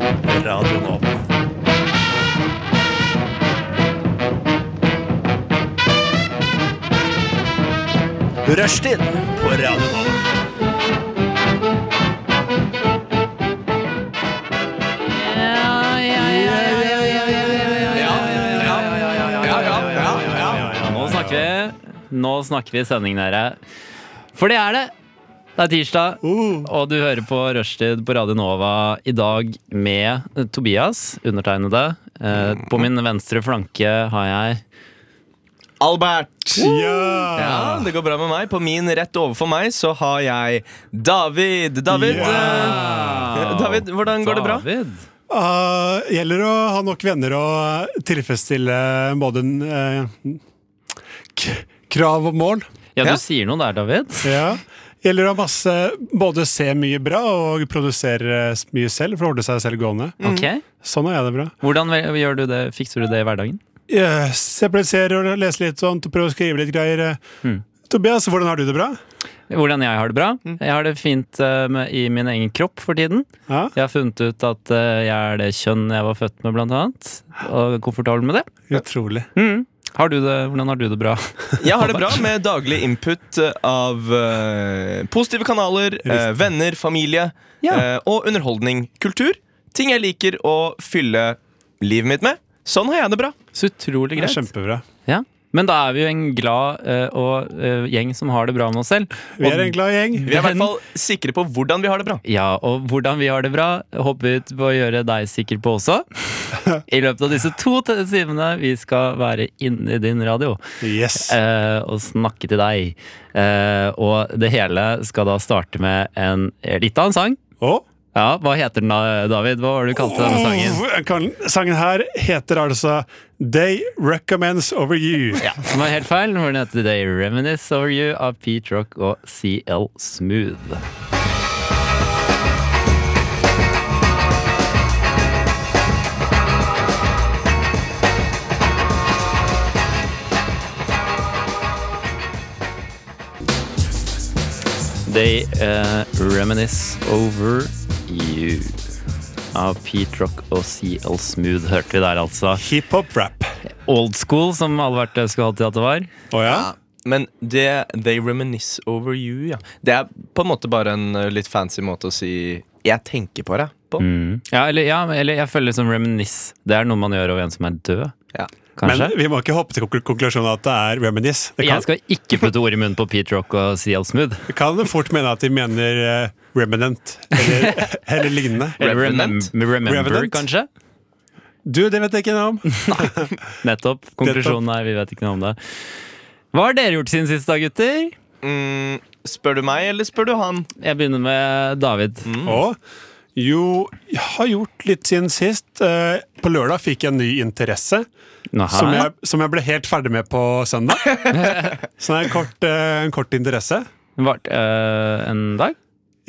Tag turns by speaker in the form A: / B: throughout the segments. A: Radio Nova. Rushtid på Radio Nova.
B: Ja, ja, ja, ja, ja, ja, ja, ja.
C: Nå snakker vi. Nå snakker vi sending, dere. For det er det. Det er tirsdag, og du hører på Rushtid på Radio Nova i dag med Tobias, undertegnede. Eh, På min venstre flanke har jeg
D: Albert!
A: Ja.
D: Ja, det går bra med meg. På min rett overfor meg så har jeg David. David, eh, David hvordan går det bra?
C: David.
E: Uh, gjelder å ha nok venner og eh, tilfredsstille både eh, k krav og mål.
C: Ja,
D: Ja. Mm.
C: du sier noe der, David.
E: Ja. Gjelder å ha masse både se mye bra og produsere eh, mye selv for å holde seg selv gående.
C: Ok.
E: Sånn har jeg det bra.
C: Hvordan vel- gjør du det? fikser du det i hverdagen?
E: Eh, Se på litt serier og lese litt sånt, og prøve å skrive litt greier. eh.
C: Mm.
E: Tobias, hvordan har du det bra?
C: Hvordan jeg har det bra? Jeg har det fint eh, med, i min egen kropp for tiden.
E: Ja,
C: Jeg har funnet ut at eh, jeg er det kjønn jeg var født med, blant annet. Og er komfortabel med det.
E: utrolig.
C: Har du det, hvordan har du det bra?
D: Jeg har det bra med daglig input eh, av eh, positive kanaler, eh, venner, familie
C: Ja.
D: eh, og underholdning. Kultur. Ting jeg liker å fylle livet mitt med. Sånn har jeg det bra.
C: Så utrolig
E: Det er
C: greit.
E: kjempebra.
C: Ja. Men da er vi jo en glad eh, og, eh, gjeng som har det bra med oss selv.
E: Vi er en glad gjeng.
D: Vi er i hvert fall sikre på hvordan vi har det bra.
C: Ja, og hvordan vi har det bra, håper vi på å gjøre deg sikker på også. I løpet av disse to t- timene vi skal være inne i din radio
E: Yes.
C: eh, og snakke til deg. Eh, og det hele skal da starte med en litt av en sang.
E: Og
C: Ja, Hva heter den da, David? Hva var det du kalte denne sangen?
E: Oh, kan, sangen her heter altså They Recommends Over You.
C: Ja, som var helt feil. Hvor den heter Today Reminisce Over You av Pete Rock og CL Smooth. They eh, reminisce over you. Av Pete Rock og CL Smooth hørte vi der, altså.
E: Hiphop-rap.
C: Old school, som Albert skulle hatt til at det var.
E: Å ja?
D: Men det They reminisce over you, ja. Det er på en måte bare en eh, litt fancy måte å si 'jeg tenker på deg' på.
C: Ja, eller, ja, eller jeg føler liksom reminisce. Det er noe man gjør over en som er død,
D: Ja.
C: kanskje.
E: Men vi må ikke hoppe til konkl- konklusjonen at det er Reminis. Det kan,
C: jeg skal ikke putte ord i munnen på Pete Rock og CL Smooth.
E: det kan fort mene at de mener eh, Remnant eller, eller lignende.
C: Eller remem
D: Revenant?
C: remember,
E: Revenant?
C: kanskje.
E: Du, det vet jeg ikke noe om.
C: Nettopp. Konklusjonen er vi vet ikke noe om det. Hva har dere gjort siden sist, da, gutter?
D: Mm, spør du meg, eller spør du han?
C: Jeg begynner med David.
E: Mm. Og jo, jeg har gjort litt siden sist. Eh, På lørdag fikk jeg en ny interesse.
C: Nå,
E: Som
C: her.
E: jeg, som jeg ble helt ferdig med på søndag. Så det er en kort, eh, en kort interesse.
C: Vart øh, en dag.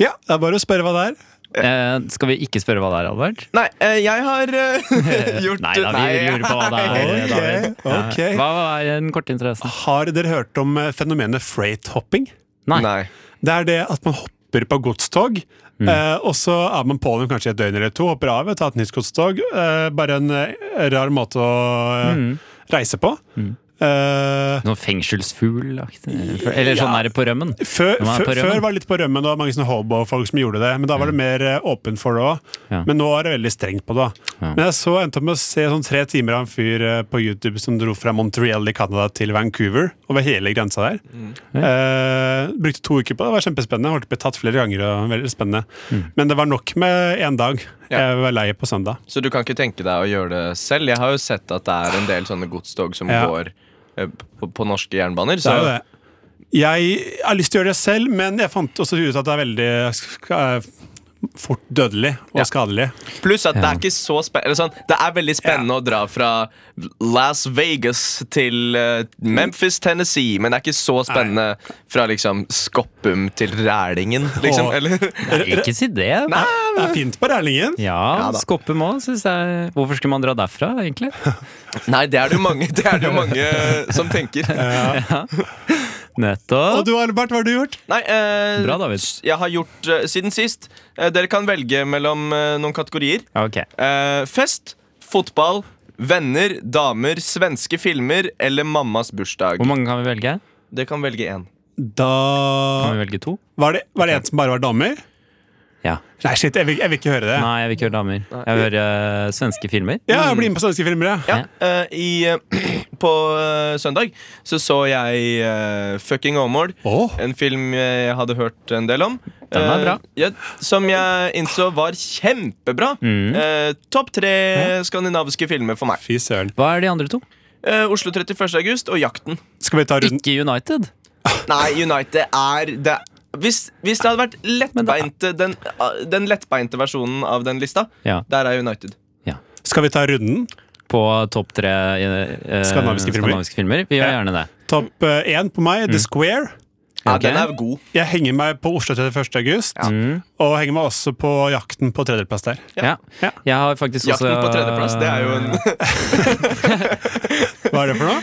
E: Ja, det er bare å spørre hva det er.
C: Eh, skal vi ikke spørre hva det er, Albert?
D: Nei, eh, jeg har eh, gjort
C: Nei da, vi lurer på hva det er. David.
E: Ok, ok. Ah,
C: Ja. Hva er den korte interessen?
E: Har dere hørt om eh, fenomenet freight hopping?
C: Nei.
D: Nei.
E: Det er det at man hopper på godstog, eh, og så er man på dem kanskje et døgn eller to, hopper av og tar et nytt godstog. Eh, bare en eh, rar måte å eh, reise på. Eh,
C: Noe fengselsfuglaktig? Eller sånn
E: Ja.
C: er det på rømmen?
E: før,
C: Nå er
E: før,
C: det på rømmen.
E: før var det litt på rømmen, det var mange sånne hobo-folk som gjorde det. Men da var det mer eh, åpen for det òg.
C: Ja.
E: Men nå er det veldig strengt på det.
C: Ja.
E: Men jeg så endte opp med å se sånn tre timer av en fyr eh, på YouTube som dro fra Montreal i Canada til Vancouver, over hele grensa der. Eh, brukte to uker på det, det var kjempespennende. Holdt på å bli tatt flere ganger. og veldig spennende
C: Mm.
E: Men det var nok med én dag.
D: Ja.
E: Jeg var lei på søndag.
D: Så du kan ikke tenke deg å gjøre det selv? Jeg har jo sett at det er en del sånne godstog som
E: Ja.
D: går eh, på, på norske jernbaner.
E: Det
D: Så
E: er jo det. Jeg har lyst til å gjøre det selv, men jeg fant også ut at det er veldig sk- eh, fort dødelig og
D: Ja.
E: skadelig.
D: Pluss at det er ikke så spennende sånn, Det er veldig spennende å dra fra Las Vegas til eh, Memphis, Tennessee, men det er ikke så spennende fra liksom Skoppum til Rælingen, liksom.
E: Åh.
D: Eller?
C: Ikke si det.
D: Nei,
E: Det er fint på Rælingen.
C: Ja,
D: Ja da.
C: Skoppum òg, syns jeg. Hvorfor skulle man dra derfra, egentlig?
D: eh, Nei, det er det jo mange, det er det jo mange som tenker.
E: Og
C: Nettopp.
E: du, Albert, hva har du gjort?
D: Nei, eh,
C: Bra, David.
D: s- Jeg har gjort eh, siden sist. Eh, dere kan velge mellom eh, noen kategorier.
C: Ok.
D: Eh, fest, fotball, venner, damer, svenske filmer eller mammas bursdag.
C: Hvor mange kan vi velge?
D: Dere kan velge én.
C: Kan
E: Da
C: vi velge to?
E: Var det, var det en som bare var damer?
C: Ja.
E: Nei, shit, jeg vil, jeg vil ikke høre det.
C: Nei, jeg vil ikke høre damer. Jeg vil høre eh, svenske filmer.
E: Ja, jeg blir med på svenske filmer, jeg.
D: Ja, eh, i, eh, på eh, søndag så så jeg eh, Fucking Åmål.
E: Åh.
D: En film eh, jeg hadde hørt en del om.
C: Den er
D: Eh,
C: bra.
D: ja, som jeg innså var kjempebra.
C: Mm.
D: Eh, Topp tre skandinaviske filmer for meg.
E: Fy søren.
C: Hva er de andre to?
D: Eh, Oslo 31. august og Jakten.
E: Skal vi ta runden?
C: Ikke United.
D: Nei, United er det hvis, hvis det hadde vært lettbeinte den, den lettbeinte versjonen av den lista,
C: Ja.
D: der er United.
E: Skal vi ta runden?
C: På topp tre eh, eh,
E: Skandinaviske filmer.
C: skandinaviske filmer. Vi gjør
E: Ja.
C: gjerne det.
E: Topp én på meg,
C: Mm.
E: The Square.
D: Ja,
C: Ok.
D: Den er god.
E: Jeg henger meg på Oslo 31. august.
C: Mm.
E: Og henger meg også på Jakten på tredjeplass der.
C: Ja.
E: Ja.
C: Jeg har faktisk også
D: Jakten på tredjeplass, det er jo en,
E: Hva er det for noe?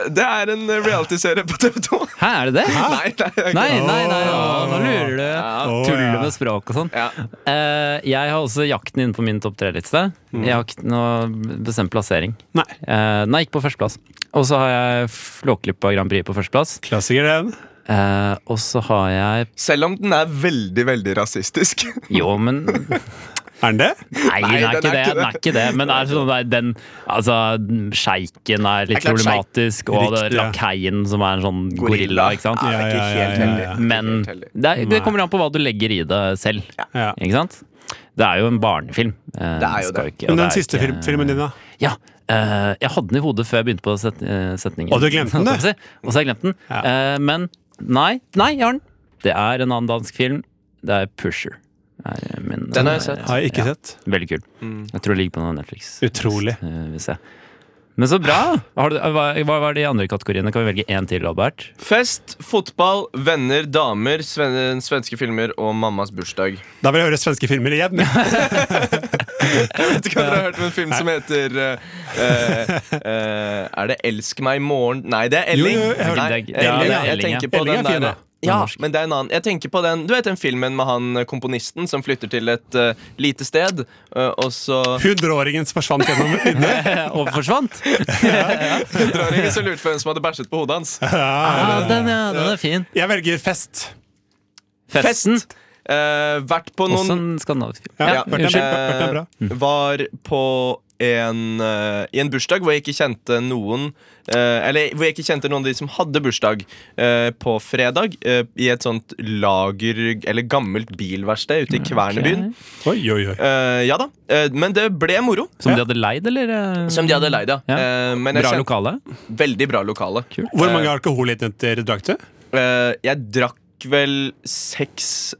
D: det er en reality-serie på TV2.
C: Hæ, er det det?
D: Nei, det er ikke-
C: Ah. Nei, nei, nei, å, nå
E: Åh.
C: lurer du.
E: Åh,
C: Tuller
E: ja.
C: med språk og sånn.
D: Ja.
C: Eh, jeg har også jakten inne på min topp tre-liste. Jeg har ikke noe bestemt plassering.
E: Nei.
C: Eh, nei, ikke på førsteplass. Og så har jeg Flåklypa Grand Prix på førsteplass.
E: Klassiker, den.
C: Eh, og så har jeg
D: Selv om den er veldig, veldig rasistisk.
C: Jo, men Nei,
E: Er den det?
C: den, er ikke
D: den er
C: det,
D: ikke
C: den er ikke det. Men det er sånn der, den Altså, sjeiken er litt
D: Det er klart
C: problematisk, og det
E: Riktig,
C: er
E: ja.
C: lakeien som er en sånn gorilla,
D: Gorilla.
C: ikke sant?
E: Ja, ja, ja, ja, ja.
C: Men
D: Helt
C: det,
D: heldig.
C: er, det kommer an på hva du legger i det selv.
E: Ja.
C: Ikke sant? Det er jo en barnefilm. Eh,
D: Det er jo
C: skal
D: det.
C: ikke- og
E: Men den
C: det er
E: siste
C: ikke-
E: fil- filmen din, da?
C: Ja. eh, jeg hadde den i hodet før jeg begynte på set eh, setningen.
E: Og du glemte den, du?
C: Holdt jeg på å si. Og så har jeg glemt den.
E: Ja.
C: Eh, men nei, nei, jeg har den. Det er en annen dansk film. Det er Pusher. Er eh, min,
D: Den har jeg
C: eh,
D: sett.
E: Har jeg ikke
C: ja.
E: sett.
C: Veldig kul.
E: Mm.
C: Jeg tror det ligger på noe Netflix.
E: Utrolig.
C: Eh, vi ser. Men så bra! Har du, eh, hva, hva var de andre kategoriene? Kan vi velge én til, Albert?
D: Fest, fotball, venner, damer, sven svenske filmer og mammas bursdag.
E: Da vil jeg høre svenske filmer igjen.
D: Vet ikke om dere har hørt om en film som heter eh, eh, eh, Er det 'Elsk meg i morgen'? Nei, det er
E: Jo,
D: Elling.
E: jo, jeg hørte-
D: Nei,
C: Det er- ja,
D: Elling, jeg,
C: det er Elling,
D: tenker på
E: Elling er
D: den
E: fin,
D: der,
E: da.
D: ja,
C: Den norske.
D: men det er en annen. Jeg tenker på den Du vet den filmen med han eh, komponisten som flytter til et eh, lite sted, eh, og så
E: Hundreåringen som forsvant gjennom vinduet.
C: Og forsvant!
D: drar ingen så lurt for en som hadde bæsjet på hodet hans.
C: Ah, den, ja, den er fin.
E: Jeg velger fest.
C: Festen.
D: Eh, vært på
C: Også
D: noen
C: en skandinavisk film.
E: Ja, vært en,
C: unnskyld.
E: vært en bra.
D: Eh, Var på en, eh, i en bursdag hvor jeg ikke kjente noen eh, Eller hvor jeg ikke kjente noen av de som hadde bursdag eh, på fredag. eh, I et sånt lager eller gammelt bilverksted ute i Kvernebyen.
E: Oi, oi, oi.
D: Eh, ja da, eh, men det ble moro.
C: Som de hadde leid, eller? eh,
D: Som de hadde leid, ja.
C: Ja.
D: Eh, men jeg
C: Bra
D: kjente
C: lokale.
D: veldig bra lokale.
E: Hvor
C: Eh.
E: mange alkoholitenheter drakk du?
D: Eh, jeg drakk vel seks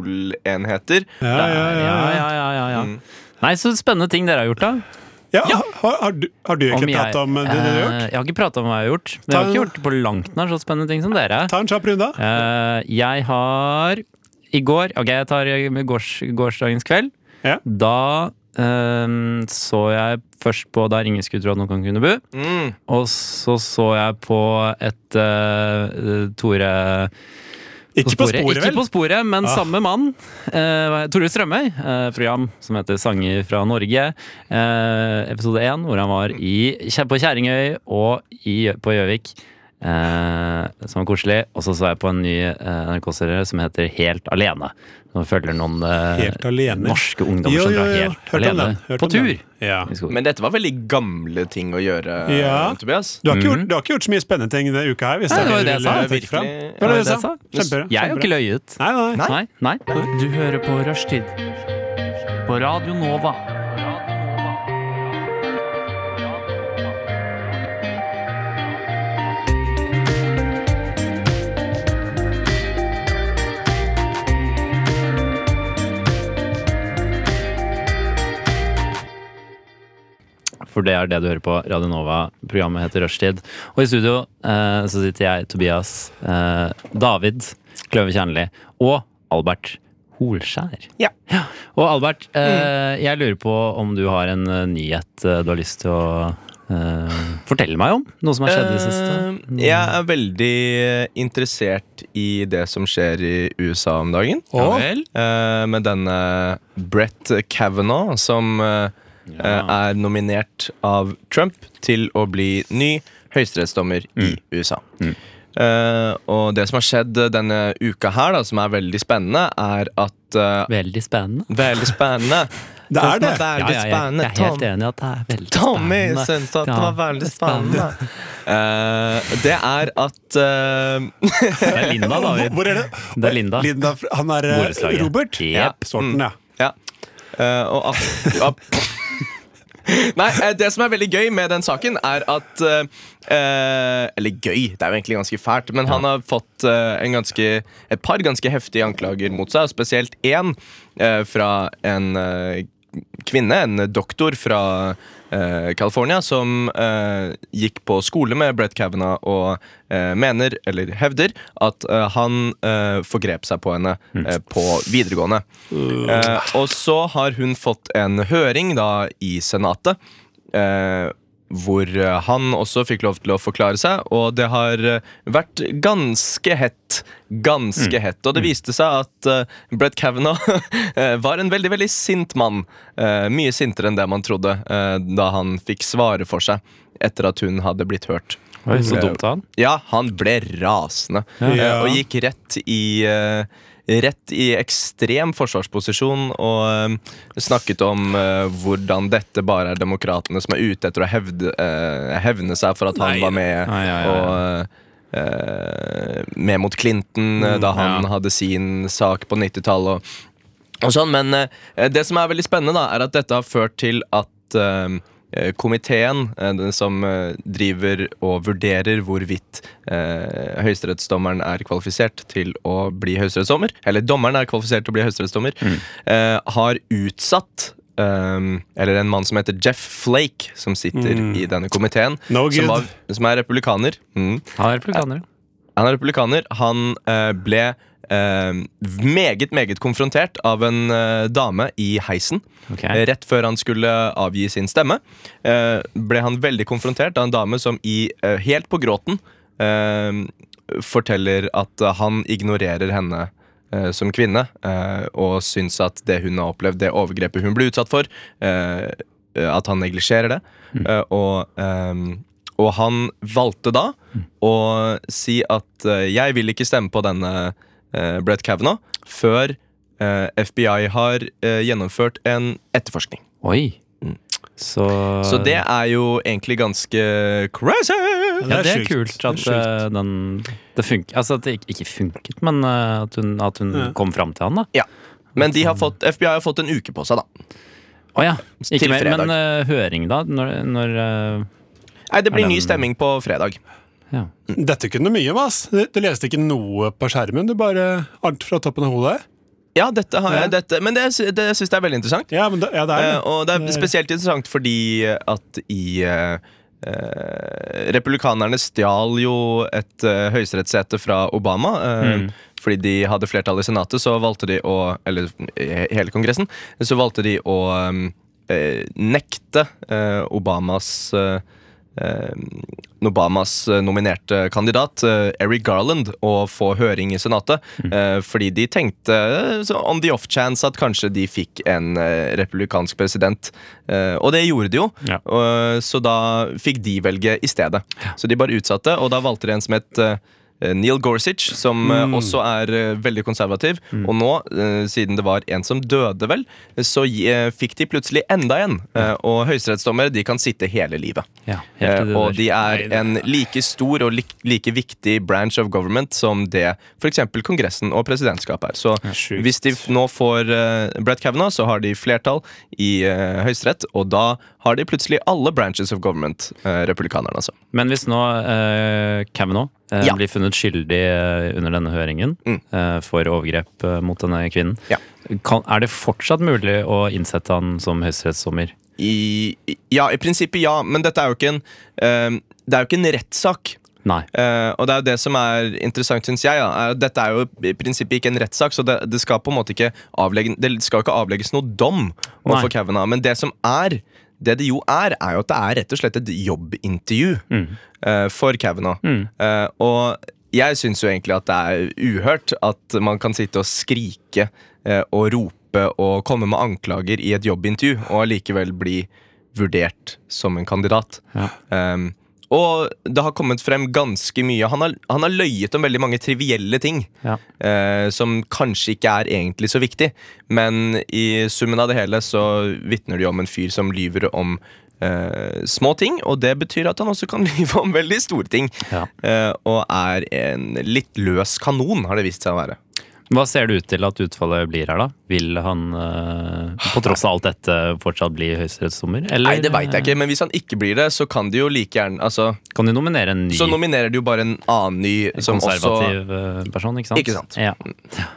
D: alkoholenheter.
E: Ja, ja,
C: Ja,
E: ja.
C: ja, ja, ja, ja. Nei, Så spennende ting dere har gjort, da.
E: ja har, har, du, har du ikke pratet om det, det du har
C: Eh,
E: gjort?
C: jeg har ikke prata om hva jeg har gjort. Men jeg har
E: Ta-
C: ikke gjort det på langt nær så spennende ting som dere.
E: Ta en kjapp runde.
C: Eh, jeg har I går Ok, jeg tar eh, gårs, gårsdagens kveld.
E: Ja.
C: Da eh, så jeg først på Der ingen skulle tro at noen kan kunne bo.
D: Mm.
C: Og så så jeg på et eh, Tore
E: Ikke på sporet,
C: Ikke
E: vel?
C: på sporet, men
E: Ah.
C: samme mann. Eh, hva- Tore Strømøy. eh, program som heter Sanger fra Norge. Eh, episode én, hvor han var i, kje- på Kjerringøy og i, på Gjøvik. Eh, som var koselig. Og så så jeg på en ny eh, NRK-serie som heter Helt alene. Som følger noen eh,
E: Helt alene.
C: norske ungdommer som drar helt
E: Hørt om
C: alene
E: den, hørt
C: på
E: om den.
C: tur.
E: Ja.
C: i skogen.
D: Men dette var veldig gamle ting å gjøre,
E: Ja.
D: Tobias.
E: Du har, ikke gjort, du har ikke gjort så mye spennende ting denne uka her. Hvis
C: Mhm. Nei, det var jo
E: er
C: det jeg sa.
E: relevant å trekke fram.
D: Virkelig-
E: Det var det
C: det
E: jeg sa.
C: jeg sa?
E: Kjempebra.
C: Jeg har jo ikke
E: kjempebra.
C: løyet.
E: Nei, nei.
C: Nei. Nei.
B: Du hører på Rushtid på Radio Nova.
C: For det er det du hører på. Radio Nova. Programmet heter Rushtid. Og i studio eh, så sitter jeg, Tobias, eh, David Kløve Kjernli og Albert Holskjær.
D: Ja. Mm.
C: Og Albert, eh, jeg lurer på om du har en eh, nyhet eh, du har lyst til å eh, fortelle meg om noe som har skjedd i det siste? Mm.
D: Eh, Jeg er veldig eh, interessert i det som skjer i USA om dagen.
E: Og
D: Eh, med denne Brett Kavanaugh, som eh, eh, er nominert av Trump til å bli ny høyesterettsdommer i
C: Mm.
D: USA. Eh, og det som har skjedd denne uka her, da, som er veldig spennende, er at eh,
C: Veldig spennende.
D: Veldig spennende.
E: Det er det.
D: som Veldig spennende.
C: Jeg er helt
D: Tom-
C: enig i at det er veldig
D: Tommy
C: spennende.
D: syns at det
C: Ja.
D: var veldig spennende. Eh, det er at eh,
C: Det er Linda, da.
E: Hvor-
C: vi-
E: Hvor er det?
C: Det er Linda.
E: Linda fra- han er eh,
C: Borettslaget.
E: Robert.
C: Jep. Mm.
E: Sorten, ja.
D: Ja. Eh, og at, at Nei, eh, det som er veldig gøy med den saken, er at eh, eh, Eller gøy, det er jo egentlig ganske fælt, men han har fått eh, en ganske, et par ganske heftige anklager mot seg, og spesielt én eh, fra en eh, kvinne, en doktor fra eh, California, som eh, gikk på skole med Brett Kavanaugh og eh, mener, eller hevder, at eh, han eh, forgrep seg på henne eh, på videregående. Eh, og så har hun fått en høring da i Senatet. Eh, hvor eh, han også fikk lov til å forklare seg, og det har eh, vært ganske hett. Ganske hett. Og det viste seg at eh, Brett Kavanaugh eh, var en veldig veldig sint mann. Eh, mye sintere enn det man trodde eh, da han fikk svare for seg etter at hun hadde blitt hørt.
C: Oi, så dumt av han.
D: Ja, han ble rasende
E: Ja.
D: eh, og gikk rett i eh, Rett i ekstrem forsvarsposisjon og eh, snakket om eh, hvordan dette bare er demokratene som er ute etter å hevde, eh, hevne seg for at han var med
C: Nei, ja, ja, ja.
D: og eh, med mot Clinton eh, da han
C: Mm, ja.
D: hadde sin sak på 90-tallet. og og sånn, men eh, det som er veldig spennende, da, er at dette har ført til at eh, komiteen eh, den som eh, driver og vurderer hvorvidt eh, høyesterettsdommeren er kvalifisert til å bli høyesterettsdommer, eller dommeren er kvalifisert til å bli høyesterettsdommer,
E: Mm.
D: eh, har utsatt eh, eller en mann som heter Jeff Flake, som sitter i denne komiteen.
E: Mm. No good.
D: som, var, som er republikaner. Mm.
C: Han er republikaner.
D: Han er republikaner. Han eh, ble eh, meget, meget konfrontert av en eh, dame i heisen
C: Ok.
D: eh, rett før han skulle avgi sin stemme. Eh, ble han veldig konfrontert av en dame som i eh, helt på gråten eh, forteller at eh, han ignorerer henne. eh, Som kvinne, eh, og syns at det hun har opplevd, det overgrepet hun ble utsatt for, eh, at han neglisjerer det. Eh, og, ehm, og han valgte da å si at eh, jeg vil ikke stemme på denne eh, Brett Kavanaugh før eh, FBI har eh, gjennomført en etterforskning.
C: Oi.
D: Mm.
C: Så,
D: Så det er jo egentlig ganske crazy!
C: ja, det er
E: sjukt.
C: kult at
E: Det er sjukt.
C: eh, den det funk, Altså at det ikke- ikke funket, men eh, at hun, at hun
E: Ja.
C: kom fram til han, da.
D: Men de har fått, FBI har fått en uke på seg, da.
C: Å ja. Ikke
D: Til
C: mer,
D: fredag.
C: men eh, høring, da? Når, når eh,
D: Nei, det blir
C: Er den-
D: ny stemming på fredag.
E: Dette kunne du mye om, ass. Du, du leste ikke noe på skjermen. Du bare alt fra toppen av hodet.
D: Ja, dette har jeg,
E: Ja.
D: dette, men det, sy- det syns jeg er veldig interessant.
E: Ja, men det, ja, det er
D: Eh,
E: det.
D: og det
E: Det
D: er
E: er-
D: spesielt interessant fordi at i eh, eh, Republikanerne stjal jo et eh, høyesterettssete fra Obama. eh,
E: Mm.
D: Fordi de hadde flertall i Senatet, så valgte de å Eller i hele Kongressen. Så valgte de å eh, nekte eh, Obamas eh, eh, Obamas eh, nominerte kandidat, eh, Eric Garland, å få høring i Senatet. eh, fordi de tenkte, eh, så on the off chance, at kanskje de fikk en eh, republikansk president. Eh, og det gjorde de jo,
C: Ja.
D: og, eh, så da fikk de velge i stedet. Så de bare utsatte, og da valgte de en som het eh, Neil Gorsuch, som eh, også er eh, veldig konservativ. Og nå, eh, siden det var en som døde, vel, så eh, fikk de plutselig enda en. Eh, og høyesterettsdommere de kan sitte hele livet.
C: Ja, helt til
D: Eh,
C: det
D: og
C: der.
D: de er en like stor og lik, like viktig branch of government som det f.eks. Kongressen og presidentskapet er. Så
E: Sjukt.
D: hvis de f- nå får eh, Brett Kavanaugh, så har de flertall i eh, Høyesterett, og da har de plutselig alle branches of government, eh, republikanerne, altså.
C: Men hvis nå eh, Kavanaugh eh,
D: Ja.
C: blir funnet skyldig eh, under denne høringen
D: Mm.
C: eh, for overgrep eh, mot denne kvinnen,
D: Ja.
C: kan, er det fortsatt mulig å innsette han som høyesterettsdommer?
D: I, i- ja, i prinsippet ja, men dette er jo ikke en, eh, det er jo ikke en rettssak.
C: Nei.
D: Eh, og det er jo det som er interessant, syns jeg. Da, er at dette er jo i prinsippet ikke en rettssak, så det, det skal på en måte ikke avlegge, Det skal ikke avlegges noe dom overfor
C: Nei.
D: Kavanaugh. Men det som er Det det jo er, er jo at det er rett og slett et jobbintervju eh, for Kavanaugh. Eh, og jeg syns jo egentlig at det er uhørt at man kan sitte og skrike eh, og rope og komme med anklager i et jobbintervju, og allikevel bli vurdert som en kandidat. Um, og det har kommet frem ganske mye. Han har, han har løyet om veldig mange trivielle ting.
C: Ja.
D: eh, som kanskje ikke er egentlig så viktig. Men i summen av det hele så vitner det jo om en fyr som lyver om eh, små ting. Og det betyr at han også kan lyve om veldig store ting.
C: Ja.
D: Eh, og er en litt løs kanon, har det vist seg å være.
C: Hva ser det ut til at utfallet blir her, da? Vil han, eh, på tross av alt dette, fortsatt bli høyesterettsdommer? Eller,
D: Nei, det veit jeg ikke, men hvis han ikke blir det, så kan de jo like gjerne altså,
C: Kan de nominere en ny
D: Så nominerer de jo bare en annen ny som også
C: konservativ eh, person, ikke sant?
D: Ikke sant.
C: Ja.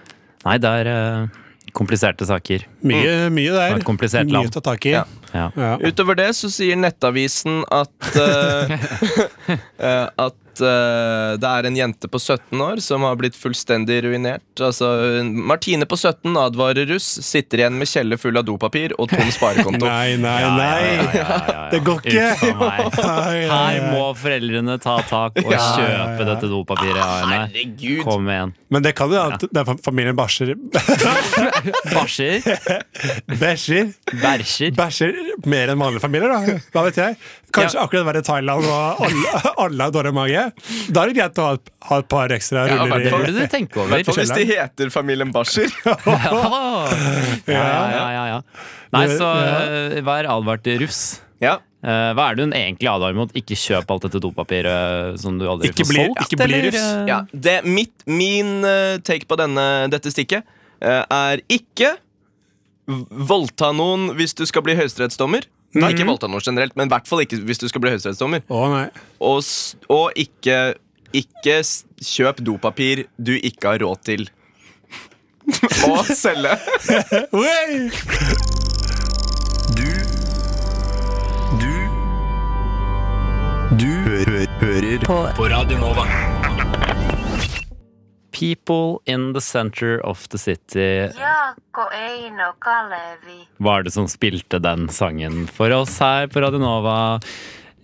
C: Nei, det er eh, kompliserte saker.
E: Mye, mye
C: Det er
E: der.
C: et komplisert
E: Mye
C: land.
E: å ta tak i.
D: Mm. Ja.
C: Ja.
E: Ja.
D: Utover det så sier Nettavisen at eh, eh, At eh, det er en jente på 17 år som har blitt fullstendig ruinert. Altså, Martine på 17 advarer russ, sitter igjen med kjelle full av dopapir og tom sparekonto.
E: Nei, nei, nei! Det går ikke!
C: Uff a meg.
E: Ai, ai,
C: Her
E: ai.
C: må foreldrene ta tak og
E: Ja, ja,
C: kjøpe
E: ja.
C: dette dopapiret. Arne.
D: Ah, Herregud!
C: Kom igjen.
E: Men det kan jo være at det er familien bæsjer
C: Bæsjer.
E: Bæsjer
C: Bæsjer.
E: Bæsjer mer enn vanlige familier, da. Hva vet jeg? Kanskje
C: Ja.
E: akkurat være i Thailand og alle, alle har dårlig mage. Da er det greit å ha et, ha et par ekstra ruller
C: Det
E: i
C: burde du tenke over.
D: Og hvis de heter familien Basher
C: Ja, ja, ja, ja, ja. Nei, så eh, vær advart russ.
D: ja.
C: Eh, hva er det hun egentlig advarer mot? Ikke kjøp alt dette dopapiret som du aldri
E: Ikke
C: får
E: bli-
C: solgt?
E: ikke bli
C: eller,
E: russ.
C: eh,
D: ja. Det, mitt, min eh, take på denne, dette stikket eh, er ikke v- voldta noen hvis du skal bli høyesterettsdommer.
E: Mhm.
D: Ikke voldta noen generelt, men i hvert fall ikke hvis du skal bli høyesterettsdommer.
E: Å nei.
D: Og, s- og ikke, ikke s- kjøp dopapir du ikke har råd til. Og selge.
E: Oi!
A: Du Du Du hø hø hører på. Radio Nova.
C: People in the center of the city.
F: Jaakko, Eino, Kalevi.
C: Hva er det som spilte den sangen for oss her på Radionova?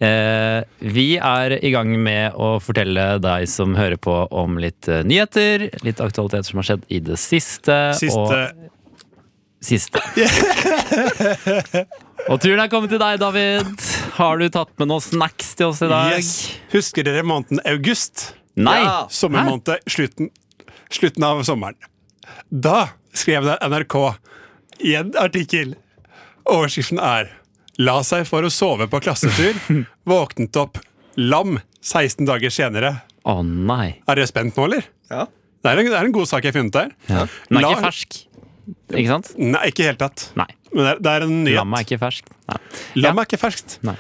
C: Eh, vi er i gang med å fortelle deg som hører på om litt eh, nyheter, litt aktualitet som har skjedd i det siste.
E: Siste
C: Og siste. og turen er kommet til deg, David. Har du tatt med noen snacks til oss i dag?
E: Yes. Husker dere måneden august?
C: Nei!
D: Ja.
E: Sommermåned. Slutten, slutten av sommeren. Da skrev det NRK i en artikkel. Overskriften er 'La seg for å sove på klassetur'. Våknet opp lam 16 dager senere.
C: Å nei.
E: Er dere spent nå, eller?
D: Ja.
E: Det er en, det er en god sak jeg har funnet der.
C: Den er
E: La-
C: ikke fersk. Ikke sant?
E: Nei, ikke i hele tatt.
C: Nei.
E: Men det er, det er en nyhet.
C: Lammet er ikke ferskt. Nei.
E: Lam er ikke ferskt.
C: Nei.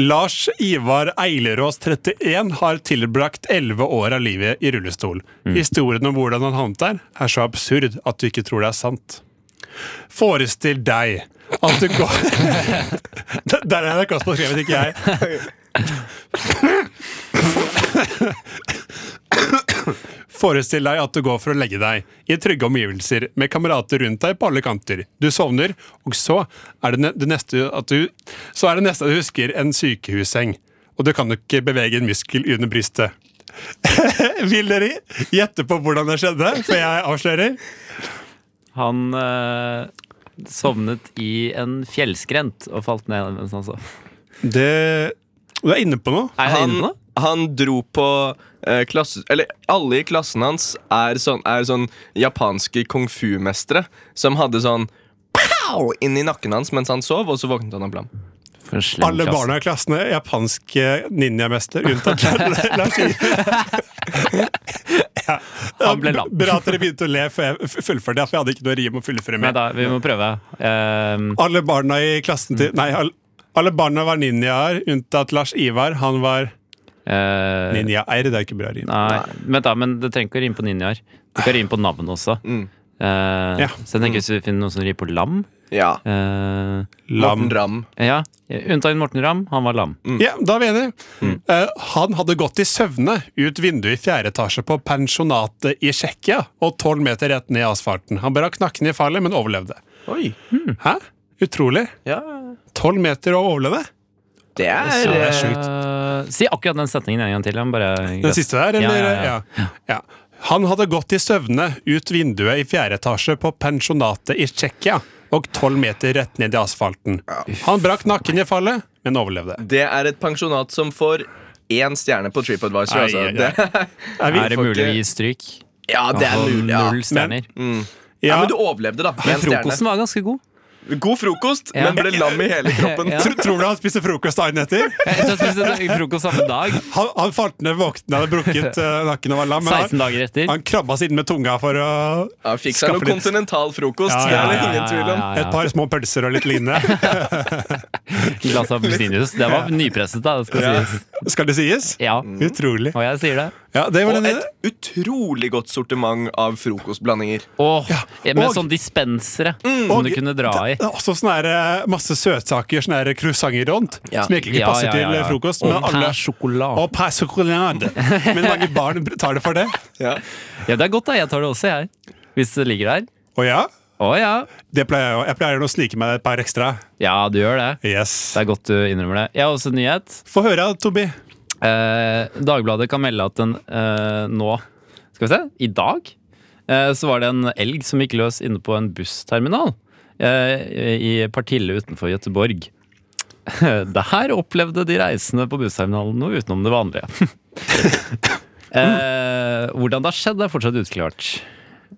E: Lars Ivar Eilerås, 31, har tilbrakt 11 år av livet i rullestol. Historien om hvordan han havnet der, er så absurd at du ikke tror det er sant. Forestill deg at du går Der- Der er NRK som har skrevet, ikke jeg. Forestill deg at du går for å legge deg i trygge omgivelser med kamerater rundt deg på alle kanter. Du sovner, og så er det, ne det neste at du Så er det neste at du husker en sykehusseng, og du kan jo ikke bevege en muskel under brystet. Vil dere gjette på hvordan det skjedde, før jeg avslører?
C: Han eh, sovnet i en fjellskrent og falt ned mens han sov.
E: Det Du er inne på noe.
C: Er jeg
D: Han,
C: inne på noe?
D: han dro på eh, klasse... Eller alle i klassen hans er sånn, er sånn japanske kung fu-mestere som hadde sånn pow inni nakken hans mens han sov, og så våknet han opp lam.
C: For en slem
E: Alle
C: klasse.
E: barna i klassen er japanske ninjamester, unntatt Lars
C: Han ble lam.
E: Bra at dere begynte å le før jeg f- fullførte, for jeg hadde ikke noe rim å fullføre
C: Nei
E: med.
C: da, vi må prøve. Ehm,
E: Alle barna i klassen
C: Mm.
E: til Nei, alle, alle barna var ninjaer, unntatt Lars Ivar. Han var
C: eh,
E: ninjaer. Det er ikke bra rim.
C: nei, vent da, men det trenger ikke å rime på ninjaer. Du kan rime på navn også. Eh,
E: Ja.
C: Så jeg tenker hvis vi finner noen som rimer på lam
D: Ja.
C: eh,
E: Lam.
D: Morten Ramm.
C: Ja, unntatt Morten Ramm, han var lam.
E: Ja, da er vi enige.
C: Mm.
E: Eh, han hadde gått i søvne ut vinduet i fjerde etasje på pensjonatet i Tsjekkia og tolv meter rett
C: Mm.
E: ned i asfalten. Han brakk nakken i fallet, men overlevde.
D: Oi.
E: Hæ? Utrolig.
D: Ja.
E: Tolv meter å overleve?
D: Det er,
E: Ja, det er
D: eh,
E: sjukt.
C: Eh, si akkurat den setningen en gang til. Han bare
E: Den siste der,
C: Ja,
E: eller?
C: ja, ja.
E: Ja. Han hadde gått i søvne ut vinduet i fjerde etasje på pensjonatet i Tsjekkia og tolv meter rett ned i asfalten. Han brakk nakken i fallet, men overlevde.
D: det er et pensjonat som får én stjerne på TripAdvisor.
E: Ai,
D: altså.
E: ai, ai.
D: Det,
E: Er
C: Er det
D: får
C: mulig å
D: ikke-
C: gi stryk?
D: ja, det er
C: Altså,
D: mulig. Ja.
C: Null stjerner.
D: Ja,
E: Ja,
D: men du overlevde, da. Med
C: Men
D: en stjerne.
C: frokosten var ganske god.
D: God frokost,
C: Ja.
D: men ble lam i hele kroppen.
C: Ja.
E: tro, tror du han spiste frokost dagen etter?
C: Jeg tror jeg spiste frokost samme dag.
E: Han, han falt ned, våknet, hadde brukket eh, nakken og var lam. men
C: 16
E: han-
C: dager etter.
E: Han krabba siden med tunga for å
D: Ja, fikk seg noe
E: Skaffe litt.
D: kontinental frokost.
E: Ja, ja,
D: Det er
E: ja,
D: det ingen tvil om.
C: Ja, ja.
E: Et par små pølser og litt lignende.
C: Glass appelsinjuice. Det var nypresset, da. Det skal
D: Ja.
C: sies.
E: Skal det sies?
C: Ja.
E: Utrolig.
C: Og jeg sier det.
E: Ja, det var
D: Og
E: den
D: et utrolig godt sortiment av frokostblandinger.
C: Og med
E: og-
C: sånn dispensere som du
E: og-
C: kunne dra i.
E: Det er også sånne her, eh, masse søtsaker, sånne her croissanter rundt,
D: Ja.
E: som egentlig ikke
C: Ja,
E: passer
C: ja, ja,
E: til
C: ja.
E: eh, frokost.
C: Og
E: Men alle
C: pain sjokolade.
E: og pain chocolade. Men mange barn tar det for det.
D: Ja.
C: Ja, det er godt, da. Jeg tar det også, jeg. Hvis det ligger der.
E: Og ja,
C: Å ja.
E: det pleier jeg, å- jeg pleier å snike meg et par ekstra.
C: Ja, du gjør det.
E: Yes.
C: Det er godt du innrømmer det. Jeg har også en nyhet.
E: Få høre, Tobi.
C: Eh, Dagbladet kan melde at den eh, nå Skal vi se, i dag eh, så var det en elg som gikk løs inne på en bussterminal eh, i Partille utenfor Gøteborg. Der opplevde de reisende på bussterminalen noe utenom det vanlige. eh, hvordan det har skjedd, er fortsatt utklart.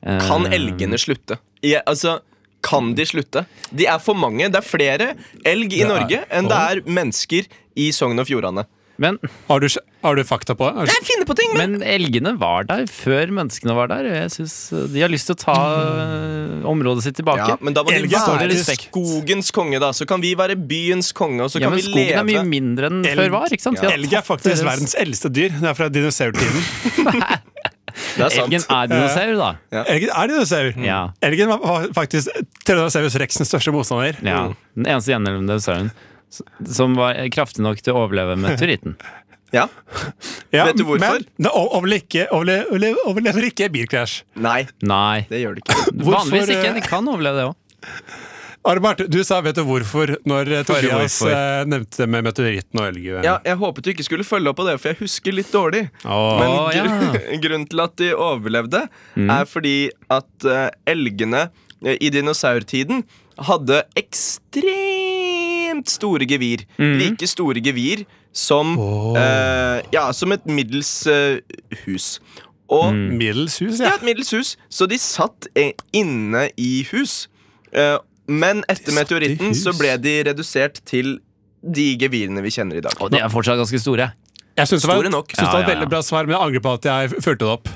C: Eh,
D: Kan elgene slutte? Ja, altså, kan de slutte? De er for mange. Det er flere elg i Norge enn det er mennesker i Sogn og Fjordane.
C: Men,
E: Har du, sj- har du fakta på det? Er-
D: Jeg finner på ting, men
C: men elgene var der før menneskene var der. og Jeg synes De har lyst til å ta eh, området sitt tilbake.
D: ja, men da må de
E: Elgen står
D: være
E: i respekt.
D: skogens konge, da. Så kan vi være byens konge, og så
C: Ja,
D: kan
C: men
D: vi
C: skogen
D: leve
C: er mye mindre enn
E: Elg.
C: før var. ikke sant? Vi har
E: Elg er
C: tatt
E: faktisk
C: deres-
E: verdens eldste dyr. Det er fra dinosaurtiden.
D: Det er
C: Elgen
D: sant.
C: er dinosaur, da.
E: Elgen er dinosaur.
D: Mm.
C: Ja.
E: Elgen var- var faktisk Tyrannosaurus rexens største motstander.
C: ja.
D: Mm.
C: Den eneste gjenlevende sauren s- som var kraftig nok til å overleve meteoritten.
D: Ja.
E: Ja,
D: Vet du hvorfor?
E: Men det o- overle- ikke- overle- overle- overlever ikke bilkrasj.
D: Nei,
C: Nei.
D: det gjør det ikke.
C: Vanligvis
E: eh,
C: ikke. De kan overleve det òg.
E: Arbert, du sa 'vet du hvorfor' når eh,
C: du
E: Tobias
C: hvorfor?
E: eh, nevnte det med meteoritten og elgen.
D: Ja, jeg håpet du ikke skulle følge opp på det, for jeg husker litt dårlig.
E: Åh. Mm.
D: Men
C: Å, ja.
D: gru- grunnen til at de overlevde, er fordi at eh, elgene eh, i dinosaurtiden hadde ekstremt store gevir.
E: Mm.
D: Like store gevir som eh, Ja, som et middels eh, hus. Og
E: Mm. Middels hus,
D: ja,
E: ja.
D: et middels hus. Så de satt eh, inne i hus. Eh, men
E: satt
D: etter
E: i
D: meteoritten
E: hus.
D: så ble de redusert til de gevirene vi kjenner i dag.
C: Og de er fortsatt ganske store.
E: Jeg syns det var,
D: Store nok.
E: synes det var
C: Ja,
E: et
C: ja, ja.
E: veldig bra svar, men jeg angrer på at jeg fulgte det opp.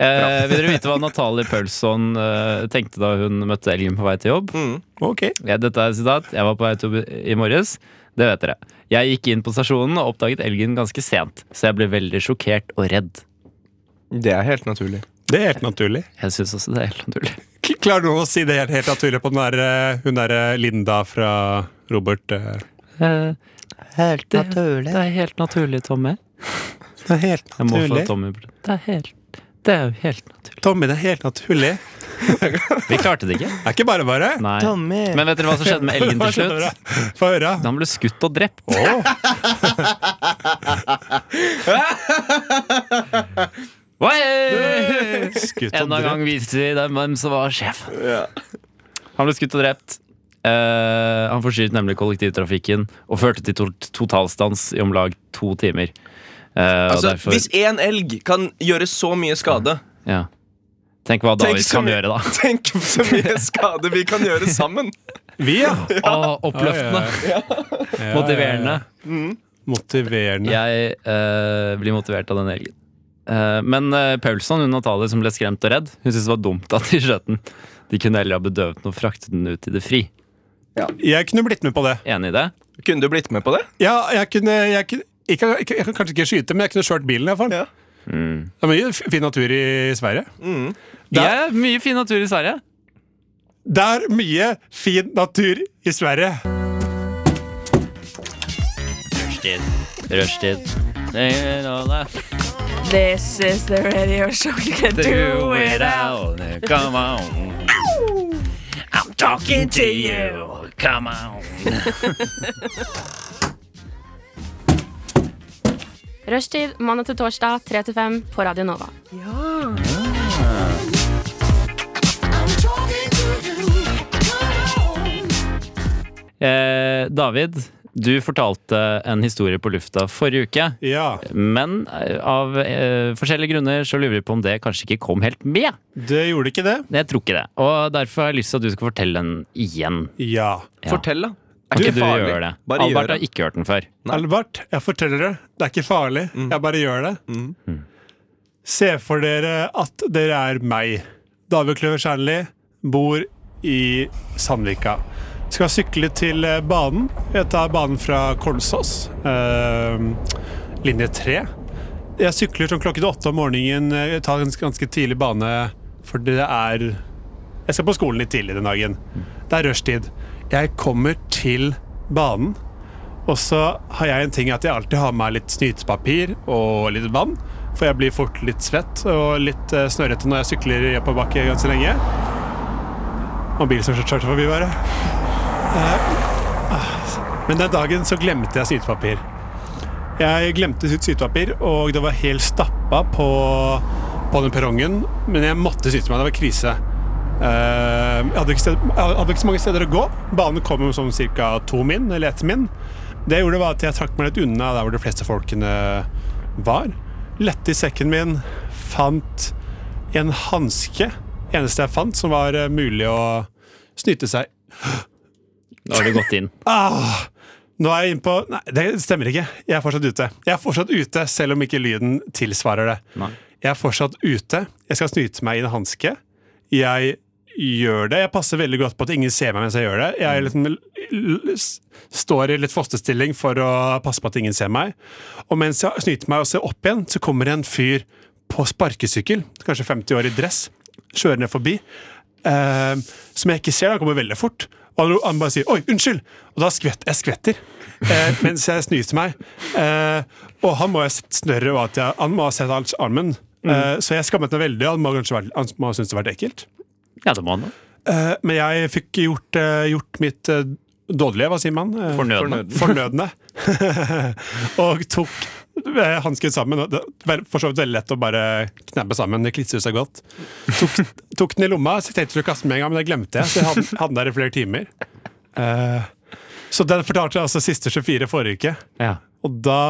C: Eh, vil dere vite hva Natalie Pølsson eh, tenkte da hun møtte elgen på vei til jobb?
E: Ok
C: Ja, dette er et sitat. Jeg var på vei til jobb i morges. Det vet dere. Jeg gikk inn på stasjonen og oppdaget elgen ganske sent, så jeg ble veldig sjokkert og redd.
D: Det er helt naturlig.
E: Det er helt naturlig.
C: Jeg syns også det er helt naturlig.
E: K- Klarer noen å si det helt, helt naturlig på den der, eh, hun der eh, Linda fra Robert? eh?
C: Helt naturlig. Det, er helt naturlig, Tommy.
E: Det er helt
C: Jeg må få
E: naturlig.
C: Tommy på det. Det er helt, det er jo helt naturlig.
E: Tommy, det er helt naturlig.
C: Vi klarte det ikke.
E: Det er ikke bare bare.
C: Nei. Men vet dere hva som skjedde med elgen til slutt?
E: Få høre.
C: Han ble skutt og drept. Oi!
E: Skutt og
C: Enda en gang
E: drept.
C: viser vi dem hvem som var sjef. Han ble skutt og drept. Eh, han forstyrret nemlig kollektivtrafikken og førte til to totalstans i om lag to timer. Eh,
D: Altså,
C: og derfor,
D: Hvis én elg kan gjøre så mye skade
C: ja. Tenk hva
D: Tenk
C: David
D: så
C: kan
D: mye-
C: gjøre, da.
D: Tenk så mye skade vi kan gjøre sammen!
E: Vi, ja.
C: Å, oppløftende.
E: Ja, ja, ja.
C: Motiverende.
E: Motiverende.
C: Jeg eh, blir motivert av den elgen. Eh, men eh, Paulsson, hun Natalie som ble skremt og redd, hun syntes det var dumt at de skjøt den. De kunne heller ha bedøvet den og fraktet den ut i det fri.
E: Jeg kunne blitt med på det.
C: Enig i det?
D: Kunne du blitt med på det?
E: Ja, jeg kunne, jeg kunne ikke, ikke, jeg kan kanskje ikke skyte, men jeg kunne kjørt bilen i hvert fall.
D: Ja.
E: Det er mye f- fin natur i Sverige.
C: Det
E: Der-
C: er mye fin natur i Sverige.
E: Det er mye fin natur i Sverige.
C: Rushtid. Rushtid. Do
B: This is the radio show you can do it out.
C: Come on. I'm talking to you. Come on.
G: Rushtid mandag til torsdag 3 til 5 på Radio Nova.
C: Eh, David, du fortalte en historie på lufta forrige uke.
E: Ja,
C: Men eh, av eh, forskjellige grunner så lurer vi på om det kanskje ikke kom helt med.
E: det gjorde ikke det.
C: Jeg tror ikke det. Og derfor har jeg lyst til at du skal fortelle den igjen.
E: Ja.
C: Ja.
D: Fortell, da. Er
C: Kan
D: ikke
C: ikke du
D: farlig.
C: gjør det?
D: Bare
C: Albert
D: gjør
C: har
D: det.
C: ikke hørt den før.
D: Nei.
E: Albert, jeg forteller det. Det er ikke farlig. Jeg bare gjør det. Se for dere at dere er meg. David Kløver Kjernli bor i Sandvika. Skal sykle til eh, banen. Jeg tar banen fra Kolsås, eh, linje 3. Jeg sykler sånn klokken åtte om morgenen. eh, Jeg tar en ganske tidlig bane, for det er Jeg skal på skolen litt tidlig den dagen. Det er rushtid. Jeg kommer til banen. Og så har jeg en ting at jeg alltid har med meg litt snytepapir og litt vann. For jeg blir fort litt svett og litt eh, snørrete når jeg sykler i oppoverbakke ganske lenge. Og en bil som kjørte forbi, bare. Eh, ah. Men den dagen så glemte jeg snytepapir. Jeg glemte sitt sytepapir, og det var helt stappa på, på den perrongen. Men jeg måtte syte meg. Det var krise. Eh, jeg, hadde ikke sted, jeg hadde ikke så mange steder å gå. Banen kom jo som ca. to min, eller ett min. Det jeg gjorde var at jeg trakk meg litt unna der hvor de fleste folkene var. Lette i sekken min, fant en hanske. Eneste jeg fant som var eh, mulig å snyte seg
C: Da har du gått inn.
E: Ah, nå er jeg inne på Nei, det stemmer ikke. Jeg er fortsatt ute. Jeg er fortsatt ute, selv om ikke lyden tilsvarer det.
C: Nei.
E: Jeg er fortsatt ute. Jeg skal snyte meg i en hanske. Jeg gjør det. Jeg passer veldig godt på at ingen ser meg mens jeg gjør det. Jeg er liksom, l- l- s- står i litt fosterstilling for å passe på at ingen ser meg. Og mens jeg snyter meg og ser opp igjen, så kommer det en fyr på sparkesykkel, kanskje 50 år i dress, kjørende forbi eh, som jeg ikke ser, han kommer veldig fort. Og han- han bare sier 'oi, unnskyld', og da skvetter jeg skvetter eh, mens jeg snyter meg. Eh, og han må ha sett snørret og at jeg, han må ha sett alt armen. Eh, så jeg skammet meg veldig. Han må, kanskje være, han må ha syntes det var ekkelt.
C: Ja, det må han. da.
E: Eh, men jeg fikk gjort, eh, gjort mitt eh, dårlige, hva sier man? Eh,
C: Fornødne.
E: fornødne. og tok eh, hansken sammen. og Det var for så vidt veldig lett å bare knebbe sammen. Det klistrer seg godt. Tok, tok den i lomma, så jeg tenkte jeg å kaste den med en gang, men det glemte jeg. Så jeg hadde, hadde den der i flere timer. Eh, så den fortalte jeg altså siste 24 forrige uke.
C: Ja.
E: Og da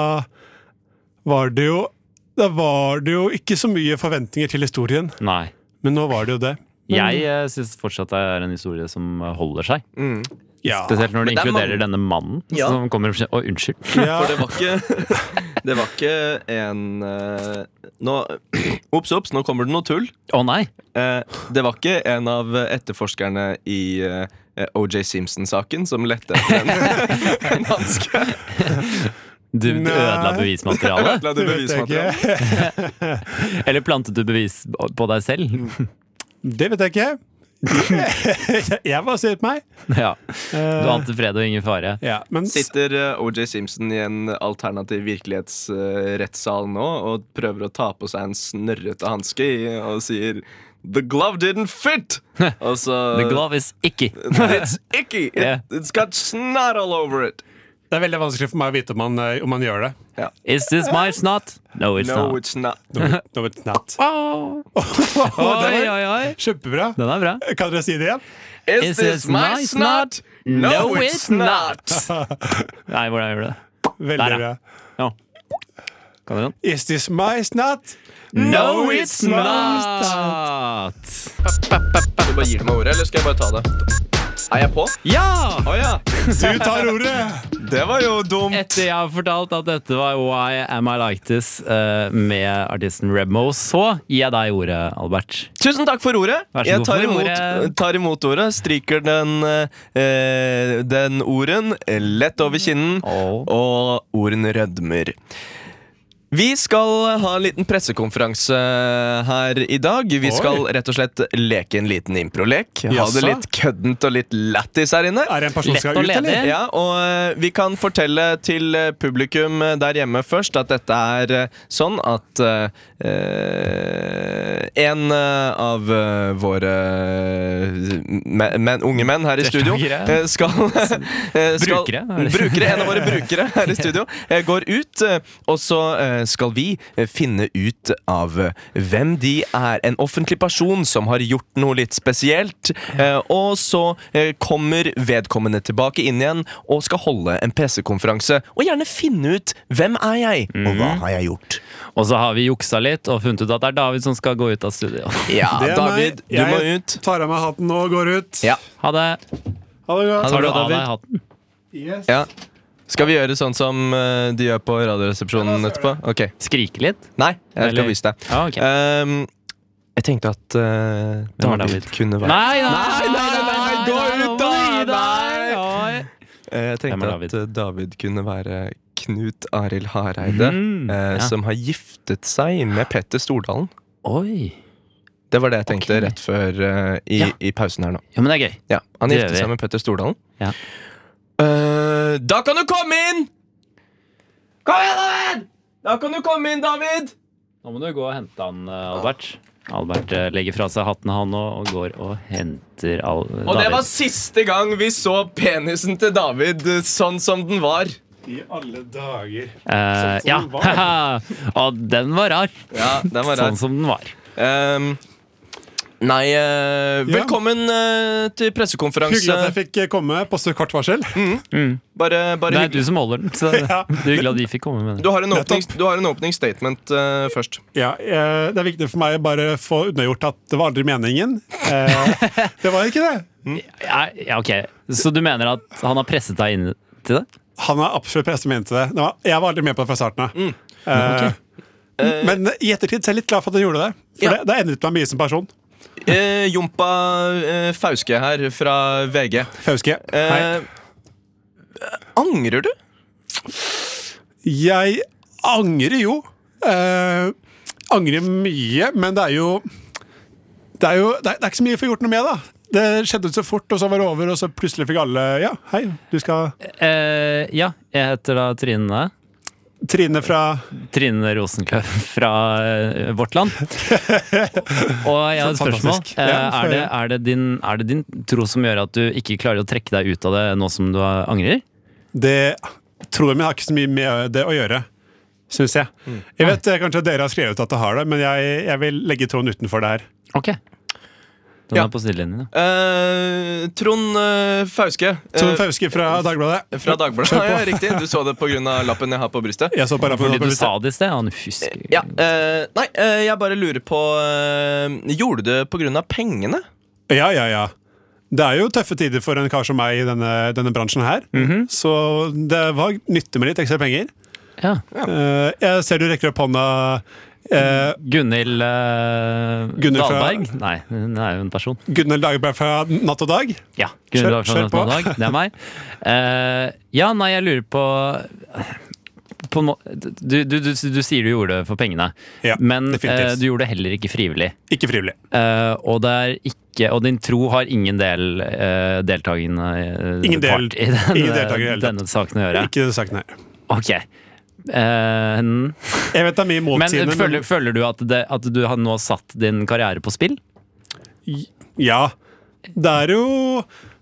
E: var det jo Da var det jo ikke så mye forventninger til historien,
C: Nei.
E: men nå var det jo det.
C: Jeg uh, syns fortsatt det er en historie som eh, holder seg.
E: Ja.
C: Spesielt når det
D: Men det er
C: inkluderer
D: mange-
C: denne mannen
D: Ja.
C: som kommer og sier 'å, unnskyld'.
E: Ja.
D: For det var ikke Det var ikke en eh, Nå Ops, ops, nå kommer det noe tull.
C: Å nei!
D: Eh, det var ikke en av etterforskerne i eh, OJ Simpson-saken som lette etter en- en hanske.
C: Du
E: Nei.
C: ødela bevismaterialet.
D: Ødela du
E: Det vet jeg
D: bevismaterialet?
E: ikke.
C: Eller plantet du bevis på deg selv?
E: Det vet jeg ikke. jeg bare sier meg.
C: Ja. Du ante fred og ingen fare.
E: Ja, men s-
D: Sitter eh, OJ Simpson i en alternativ virkelighetsrettssal nå og prøver å ta på seg en snørrete hanske i- og sier The glove didn't fit! Og så
C: The glove is icky.
D: It's icky! It,
C: Yeah.
D: It's got snot all over it!
E: det er veldig vanskelig for meg å vite om man, eh, om man gjør det.
C: Is this my snot? No, it's
D: no,
C: not.
D: it's not.
E: No, it's not.
C: Åh. Oi,
E: det var
C: oi, oi.
E: kjempebra.
C: Den er bra.
E: Kan dere si det igjen?
D: Is this my snot? No, it's not!
C: Nei, hvordan gjør du det? Der,
E: Veldig
C: ja.
E: bra.
C: Ja. Kan du den?
E: Is this my snot?
C: No, it's
E: not.
C: not!
D: Du bare gir meg ordet, eller skal jeg bare ta det? Er jeg på?
C: Ja!
D: Å ja!
E: Du tar ordet!
D: Det var jo dumt.
C: Etter jeg har fortalt at dette var Why Am I Like This eh, med artisten Rebmo, så gir jeg deg ordet, Albert.
D: Tusen takk for ordet.
C: Vær så
D: Jeg
C: god
D: tar
C: for
D: imot,
C: ordet.
D: tar imot ordet, stryker den, eh, den orden lett over kinnen,
C: Åh.
D: og orden rødmer. Vi skal ha en liten pressekonferanse her i dag. Vi
E: Oi.
D: skal rett og slett leke en liten improlek. Ha
E: Jaså?
D: det litt køddent og litt lættis her inne.
E: Er det en person som
C: Lett
E: skal
C: å
E: ut,
C: lede.
E: eller?
D: Ja, og eh, vi kan fortelle til eh, publikum eh, der hjemme først at dette er eh, sånn at eh, eh, en eh, av eh, våre eh, me- men, unge menn her i studio
C: Deltakere.
D: eh, skal, eh, skal
C: Brukere, er det?
D: Brukere, en av våre brukere her i studio, eh, går ut, eh, og så eh, skal vi eh, finne ut av eh, hvem de er. En offentlig person som har gjort noe litt spesielt. eh, Og så eh, kommer vedkommende tilbake inn igjen og skal holde en pressekonferanse. Og gjerne finne ut hvem er jeg, og hva har jeg gjort.
C: Og så har vi juksa litt og funnet ut at det er David som skal gå ut av studio.
D: Ja,
E: Det er
D: David,
E: meg.
D: du må
E: Jeg
D: ut.
E: Tar av meg hatten og går ut.
D: Ja.
C: Ha det.
E: Ha det godt.
D: Ha det
C: Tar du
D: bra,
C: av deg
D: David.
C: hatten?
E: Yes.
D: Ja. Skal vi gjøre sånn som eh, de gjør på Radioresepsjonen etterpå? Ok.
C: Skrike litt?
D: Nei, jeg
C: Eller-
D: skal vise deg.
C: Ja, ok.
D: Ehm, jeg tenkte at eh,
C: Hvem er
D: David,
C: David?
D: kunne være
C: Nei, nei,
D: Nei, nei, nei, gå ut, da! Nei!
C: Nei!
D: Eh, Jeg
C: Hvem
D: tenkte
C: er
D: at
C: David?
D: eh, David kunne være Knut Arild Hareide,
C: Mm,
D: eh,
C: ja.
D: som har giftet seg med Petter Stordalen.
C: Oi.
D: Det var det jeg tenkte
C: Ok.
D: rett før eh, i,
C: Ja.
D: i pausen her nå.
C: Ja, men det er gøy.
D: Ja, Han
C: Det gjør
D: giftet
C: vi.
D: seg med Petter Stordalen.
C: Ja.
D: Eh, da kan du komme inn! Kom igjen, David! Da kan du komme inn, David!
C: Nå må du gå og hente han, eh, Albert. Albert eh, legger fra seg hatten han nå og går og henter Al
D: Og det
C: David.
D: var siste gang vi så penisen til David eh, sånn som den var.
E: I alle dager.
C: Eh,
E: sånn som
C: ja.
E: den var.
C: og den var rar.
D: Ja, den var rar.
C: Sånn som den var.
D: Ehm, nei, eh, velkommen eh, til
E: Hyggelig at
D: pressekonferanse.
E: jeg fikk eh, komme på så kort varsel.
C: Mm.
D: Bare, bare
C: Det er
D: hyggelig.
C: du som holder den. Så det
E: Ja.
C: det er hyggelig at vi fikk komme med
D: Du
C: den.
D: har en, åpning,
E: Nettopp.
D: du har en åpningsstatement eh, først.
E: Ja, eh, Det er viktig for meg å bare få unnagjort at det var aldri meningen. Eh, Det var ikke det.
C: Ja, ja, ok. Så du mener at han har presset deg inn til det?
E: Han er absolutt beste min til det. det var, jeg var aldri med på det fra starten av.
D: Mm.
E: Eh, Men i ettertid så er jeg litt glad for at han gjorde det. For
D: Ja.
E: det, det har endret meg mye som person.
D: Eh, Jompa eh, Fauske her fra VG.
E: Fauske. Hei.
D: Eh, angrer du?
E: Jeg angrer jo. Eh, angrer mye, men det er jo Det er jo det er, det er ikke så mye å få gjort noe med, da. Det skjedde så fort, og så var det over, og så plutselig fikk alle Ja, hei, du skal
C: Eh, ja, jeg heter da Trine.
E: Trine fra
C: Trine Rosenkløv fra eh, Vårt Land. Og jeg har et spørsmål.
E: Fantastisk.
C: Eh,
E: Ja,
C: Er det, er, det din, er det din tro som gjør at du ikke klarer å trekke deg ut av det nå som du har- angrer?
E: Det troen min har ikke så mye med det å gjøre, syns jeg. Jeg vet eh, kanskje dere har skrevet at det har det, men jeg, jeg vil legge tråden utenfor det her.
C: Ok. Den
D: Ja.
C: er på sidelinjen, ja.
D: Eh, Trond eh, Fauske. eh,
E: Trond Fauske fra Dagbladet.
D: fra Dagbladet.
E: Kjør på.
D: Ja, riktig. Du så det pga. lappen jeg har på brystet.
E: Jeg så bare på
C: Fordi du
E: på-
C: sa det i sted. Han husker
D: Ja, eh, Nei, eh, jeg bare lurer på eh, Gjorde du det pga. pengene?
E: Ja, ja, ja. Det er jo tøffe tider for en kar som meg i denne, denne bransjen her. Så det var nyttig med litt ekstra penger.
C: Ja.
E: Eh, jeg ser du rekker opp hånda. Uh,
C: Gunhild eh,
E: Gunhild fra-
C: Dahlberg? Nei, hun er jo en person.
E: Gunhild Dagbjerg fra Natt og Dag.
C: Ja, Gunhild
E: Kjør-
C: Dahlberg fra
E: kjør på.
C: Nattmandag. Det er meg. Eh, ja, nei, jeg lurer på på en må du, du, du, du sier du gjorde det for pengene,
E: Ja,
C: men
E: definitivt.
C: eh, du gjorde det heller ikke frivillig.
E: Ikke frivillig.
C: Eh, og det er ikke Og din tro har ingen del eh, deltakende eh,
E: Ingen del-
C: part i denne,
E: ingen deltaker i hele tatt.
C: denne saken å gjøre.
E: Ikke det saken her.
C: Ok. Eh, men
E: Jeg vet det er mye motsigende.
C: føler, føler du at, det, at du har nå satt din karriere på spill?
E: Ja. Det er jo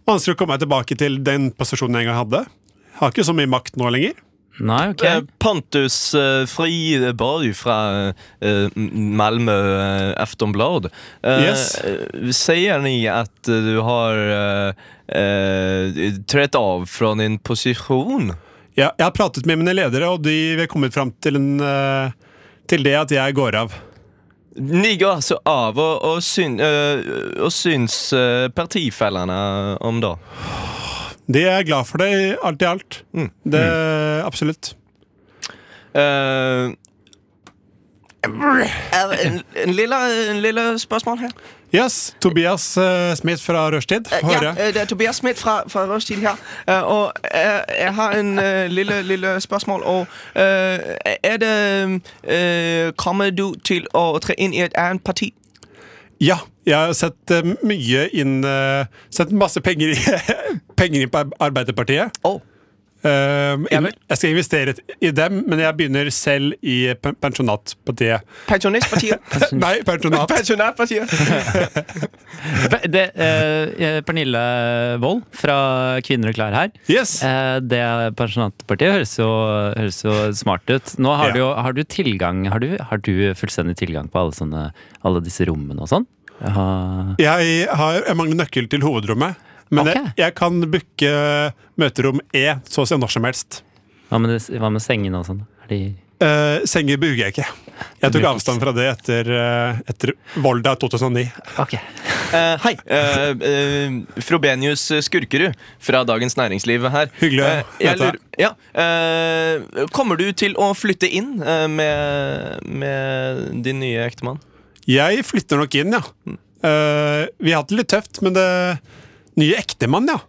E: vanskelig å komme meg tilbake til den posisjonen jeg en gang hadde. Jeg har ikke så mye makt nå lenger.
C: Nei, ok.
D: Eh, Pontus eh, Friborg fra eh, Malmö eh, Aftonblad eh,
E: Yes.
D: eh, Säger ni att eh, du har eh, eh, trätt av från din position?
E: Ja, jeg har pratet med mine ledere, og de vi har kommet fram til, en, eh, til det at jeg går av.
D: Ni går alltså av och, och, syn, eh, och syns eh, partifällarna om dagen?
E: De er glad for det, alt i alt.
D: Mm.
E: Det, absolutt.
D: Eh, en, en, lilla, en lilla spørsmål her.
E: Yes, Tobias eh, Smith fra Rushtid. Få
D: Ja,
E: høre.
D: eh, det er Tobias Smith fra, fra Rushtid her. Eh, Og eh, jeg har en eh, lille, lille spørsmål. Og eh, er det eh, Kommer du til å tre inn i et annet parti?
E: Ja, jeg har sett eh, mye inn eh, Sett masse penger, i- penger inn på Ar- Arbeiderpartiet.
D: Oh.
E: Um,
D: Ja
E: in,
D: vel.
E: jeg skal investere i dem, men jeg begynner selv i pe- pensjonatpartiet.
D: Pensjonistpartiet?
E: Nei, pensjonat.
D: Pensjonærpartiet?
C: Pe- Det, eh, Pernille Wold fra Kvinner og klær her.
E: Yes.
C: Eh, det pensjonatpartiet høres jo, høres jo smart ut. Nå har,
E: Ja.
C: du, jo- har du tilgang har du, har du fullstendig tilgang på alle, sånne, alle disse rommene og sånn? Ja.
E: Jeg, har, jeg mangler nøkkel til hovedrommet, men
C: Ok.
E: jeg, jeg kan booke eh, møterom E så å si når som helst.
C: Hva med, det- hva med sengene og sånn? Er de
E: Eh, senger bruker jeg ikke. Jeg tok
C: Bruker
E: avstand fra det etter, eh, etter Volda 2009.
C: Ok.
D: Eh, hei. eh, eh, Frobenius Skurkerud fra Dagens Næringsliv her.
E: Hyggelig å
D: Eh, jeg
E: møte deg.
D: lurer- ja, eh, kommer du til å flytte inn eh, med, med din nye ektemann?
E: Jeg flytter nok inn, ja. Eh, vi har hatt det litt tøft, men det Nye ektemann, ja.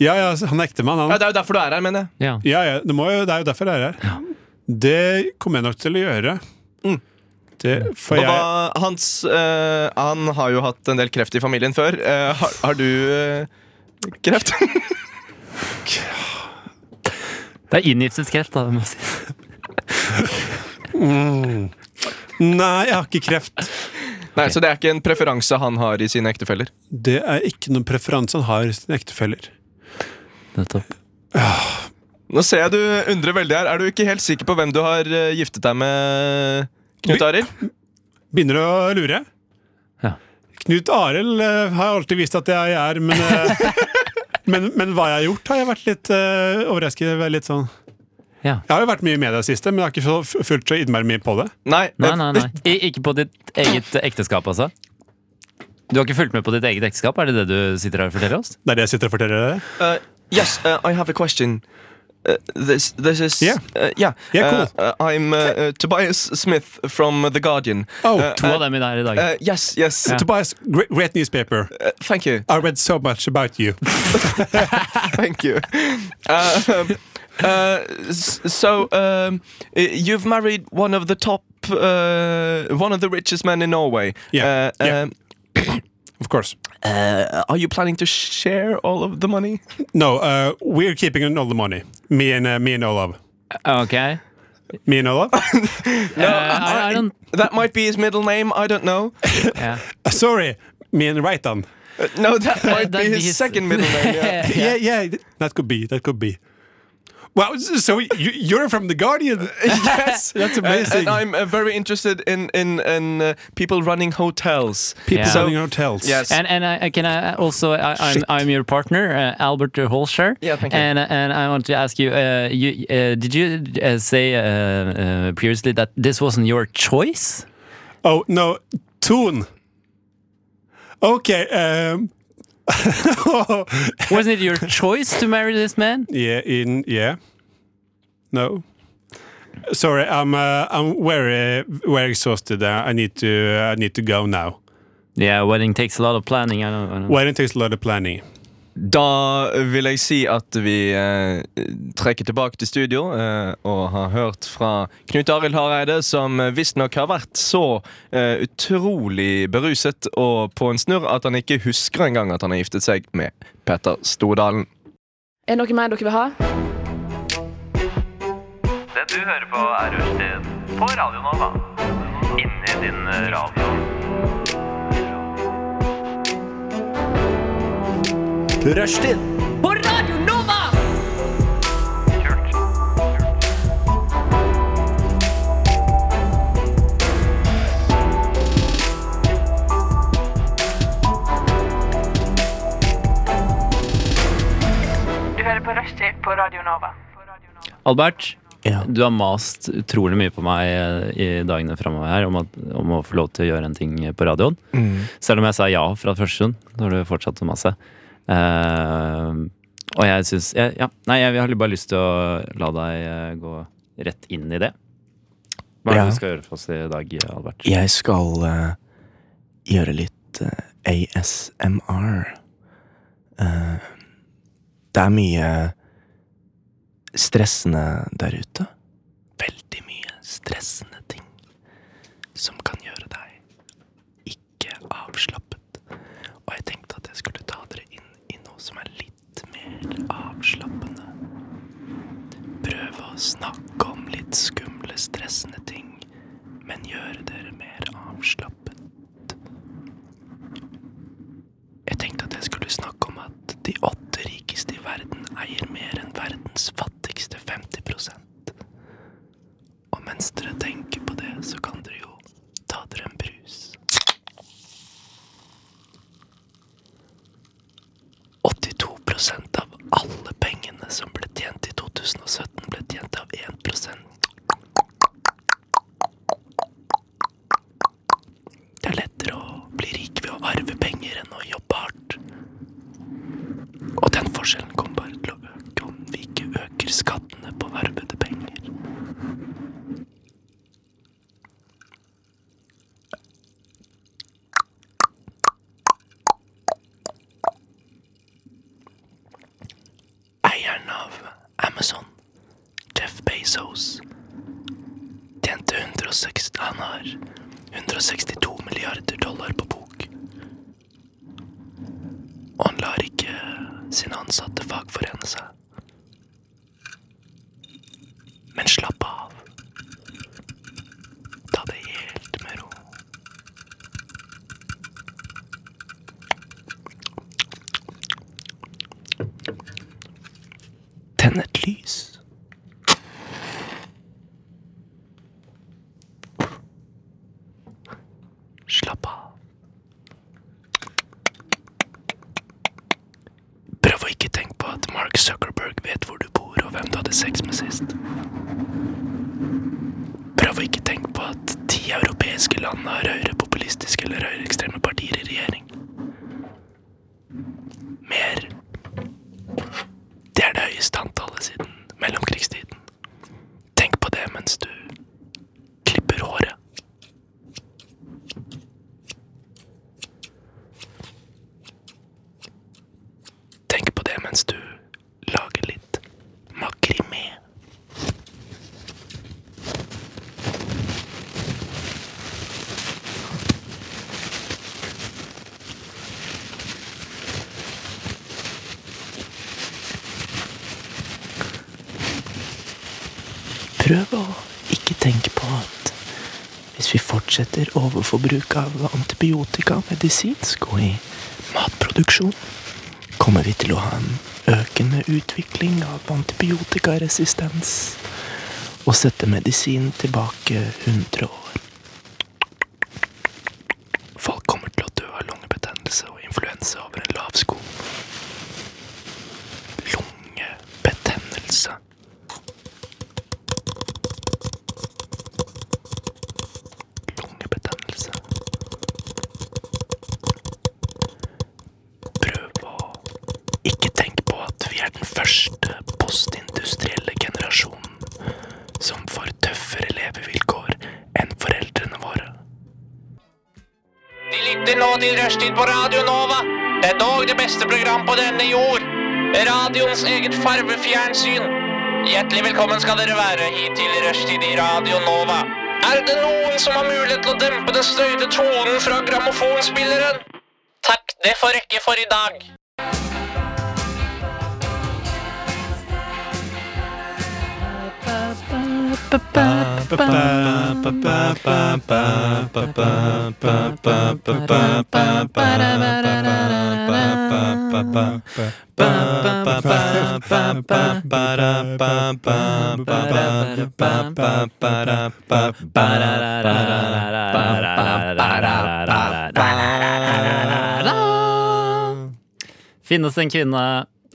E: Ja, ja, han er ektemann, han.
D: Ja, det er jo derfor du er her, mener jeg.
C: Ja.
E: Ja, ja det, må jo, det er jo derfor jeg er her. Det kommer jeg nok til å gjøre. Det, for
D: Og
E: jeg
D: Mm. hva, hans, eh, han har jo hatt en del kreft i familien før. Eh, har, har du eh, kreft?
C: Det er inngifteskreft, da. Må jeg si.
E: Nei, jeg har ikke kreft.
D: Nei, Så det er ikke en preferanse han har i sine ektefeller?
E: Det er ikke noen preferanse han har i sine ektefeller.
C: Nettopp.
D: Nå ser jeg du undrer veldig her. Er du ikke helt sikker på hvem du har eh, giftet deg med, Knut Arild?
E: Begynner å lure.
C: Ja.
E: Knut Arild eh, har jeg alltid visst at jeg er, men, eh, men, men hva jeg har gjort, har jeg vært litt eh, overrasket over. Litt sånn.
C: Ja.
E: Jeg har jo vært mye i media i det siste, men jeg har ikke så- f- fulgt så innmari mye på det.
D: Nei.
C: Nei, nei, nei. I, ikke på ditt eget ekteskap, altså? Du har ikke fulgt med på ditt eget ekteskap? Er det det du sitter her og forteller oss?
E: Det er det jeg sitter og forteller dere.
D: Uh, yes, uh, I have a question. Uh, this this is
E: Yeah.
D: uh, yeah
E: Yeah, cool.
D: Uh, uh, I'm uh, uh, Tobias Smith from uh, the Guardian.
E: Oh,
D: uh,
C: To av dem i der i dag.
D: uh, yes, yes.
C: Ja.
E: Tobias, great, great newspaper.
D: Uh, thank you,
E: I read so much about you.
D: thank you. Uh, um, uh, s- so um, uh, you've married one of the top, uh, one of the richest men in Norway.
E: Yeah,
D: Uh,
E: yeah.
D: um,
E: Of course.
D: uh, are you planning to share all of the money?
E: No, uh, we're keeping in all the money. Me and uh, me and Olav.
C: Ok. Eh,
E: Me and Olav. Uh,
D: No,
C: I- I don't-
D: That might be his middle name. I don't know.
C: Ja.
E: Uh, sorry, me and Raitan.
D: Uh, no, that might
C: that'd be
D: be his
C: his-
D: second middle name. Yeah.
E: Yeah, yeah, th- that could be. That could be. Wow, s- so you, you're from the Guardian? yes, that's
D: And,
E: amazing.
D: and I'm uh, very interested in in, in uh, people running hotels.
E: People
C: Yeah.
E: selling hotels.
D: Yes.
C: And and I, I can I also I, I'm I'm your partner uh, Albert Holscher.
D: Yeah, thank you.
C: And and I want to ask you, uh, you uh, did you uh, say uh, uh, previously that this wasn't your choice?
E: Oh no, Toon. Okay. Um,
C: Wasn't it your choice to marry this man?
E: yeah. In yeah. No. Sorry, I'm uh, I'm very very exhausted. Uh, I need to I need to go now.
C: Yeah, wedding takes a lot of planning. I don't, I don't.
E: Well, it takes a lot of planning.
D: Da vil jeg si at vi eh, trekker tilbake til studio eh, og har hørt fra Knut Arild Hareide, som visstnok har vært så eh, utrolig beruset og på en snurr at han ikke husker engang at han har giftet seg med Petter Stordalen.
H: Er det noe mer dere vil ha?
I: Det du hører på er Rushtid på Radio Nova. Inni din radio.
A: Rushtid
I: Kult.
H: Du hører på Rushtid på Radio Nova.
C: Albert,
A: Ja.
C: du har mast utrolig mye på meg eh, i dagene framover her om, at, om å få lov til å gjøre en ting på radioen. Selv om jeg sa ja fra første stund, så har du fortsatt å mase. Eh, og jeg syns jeg, ja, Nei, jeg, har bare lyst til å la deg eh, gå rett inn i det. Hva er det
J: Ja.
C: du skal gjøre for oss i dag, Albert?
J: Jeg skal eh, gjøre litt eh,
D: ASMR. Eh, det er mye stressende der ute. Veldig mye stressende ting som kan gjøre deg ikke avslappet. Og jeg tenkte at jeg skulle ta dere inn i noe som er litt mer avslappende. Prøve å snakke om litt skumle, stressende ting, men gjøre dere mer avslappet. Jeg tenkte at jeg skulle snakke om at de åtte rikeste i verden eier mer enn verdens fattigste 50 Og mens dere tenker på det, så kan dere jo ta dere en brus. 82 av alle pengene som ble tjent i 2017, ble tjent av 1 Det er lettere å bli rik ved å arve penger enn å jobbe hardt. Og den forskjellen kommer bare til å øke om vi ikke øker skattene på arvede penger. Eieren av Amazon, Jeff Bezos, tjente 160 Han har 162 milliarder dollar på bok. Og han lar ikke sine ansatte fagforene seg. Men slapp av. Ta det helt med ro. Tenn et lys. Slapp av. Prøv å ikke tenke på at Mark Zuckerberg vet hvor du bor og hvem du hadde sex med sist. Prøv å ikke tenke på at ti europeiske land har høyrepopulistiske eller høyreekstreme partier i regjering. Mer. Det er det høyeste antallet siden mellomkrigstiden. Tenk på det mens du klipper håret. Tenk på det mens du lager litt makrimé. Prøv å ikke tenke på at hvis vi fortsetter overforbruk av antibiotika og medisinsk og i matproduksjon, kommer vi til å ha en økende utvikling av antibiotikaresistens og sette medisinen tilbake 100 år. Folk kommer til å dø av lungebetennelse og influensa over en lav sko. Lungebetennelse. Lungebetennelse. Prøv å ikke tenk på at vi er den første postindustrielle generasjonen som får tøffere levevilkår enn foreldrene våre.
I: De lytter nå til Rushtid på Radio Nova. Det er dog det beste program på denne jord. Radioens eget farvefjernsyn. Hjertelig velkommen skal dere være hit til Rushtid i Radio Nova. Er det noen som har mulighet til å dempe den støyte tonen fra grammofonspilleren? Takk, det får rekke for i dag.
C: Finnes en kvinne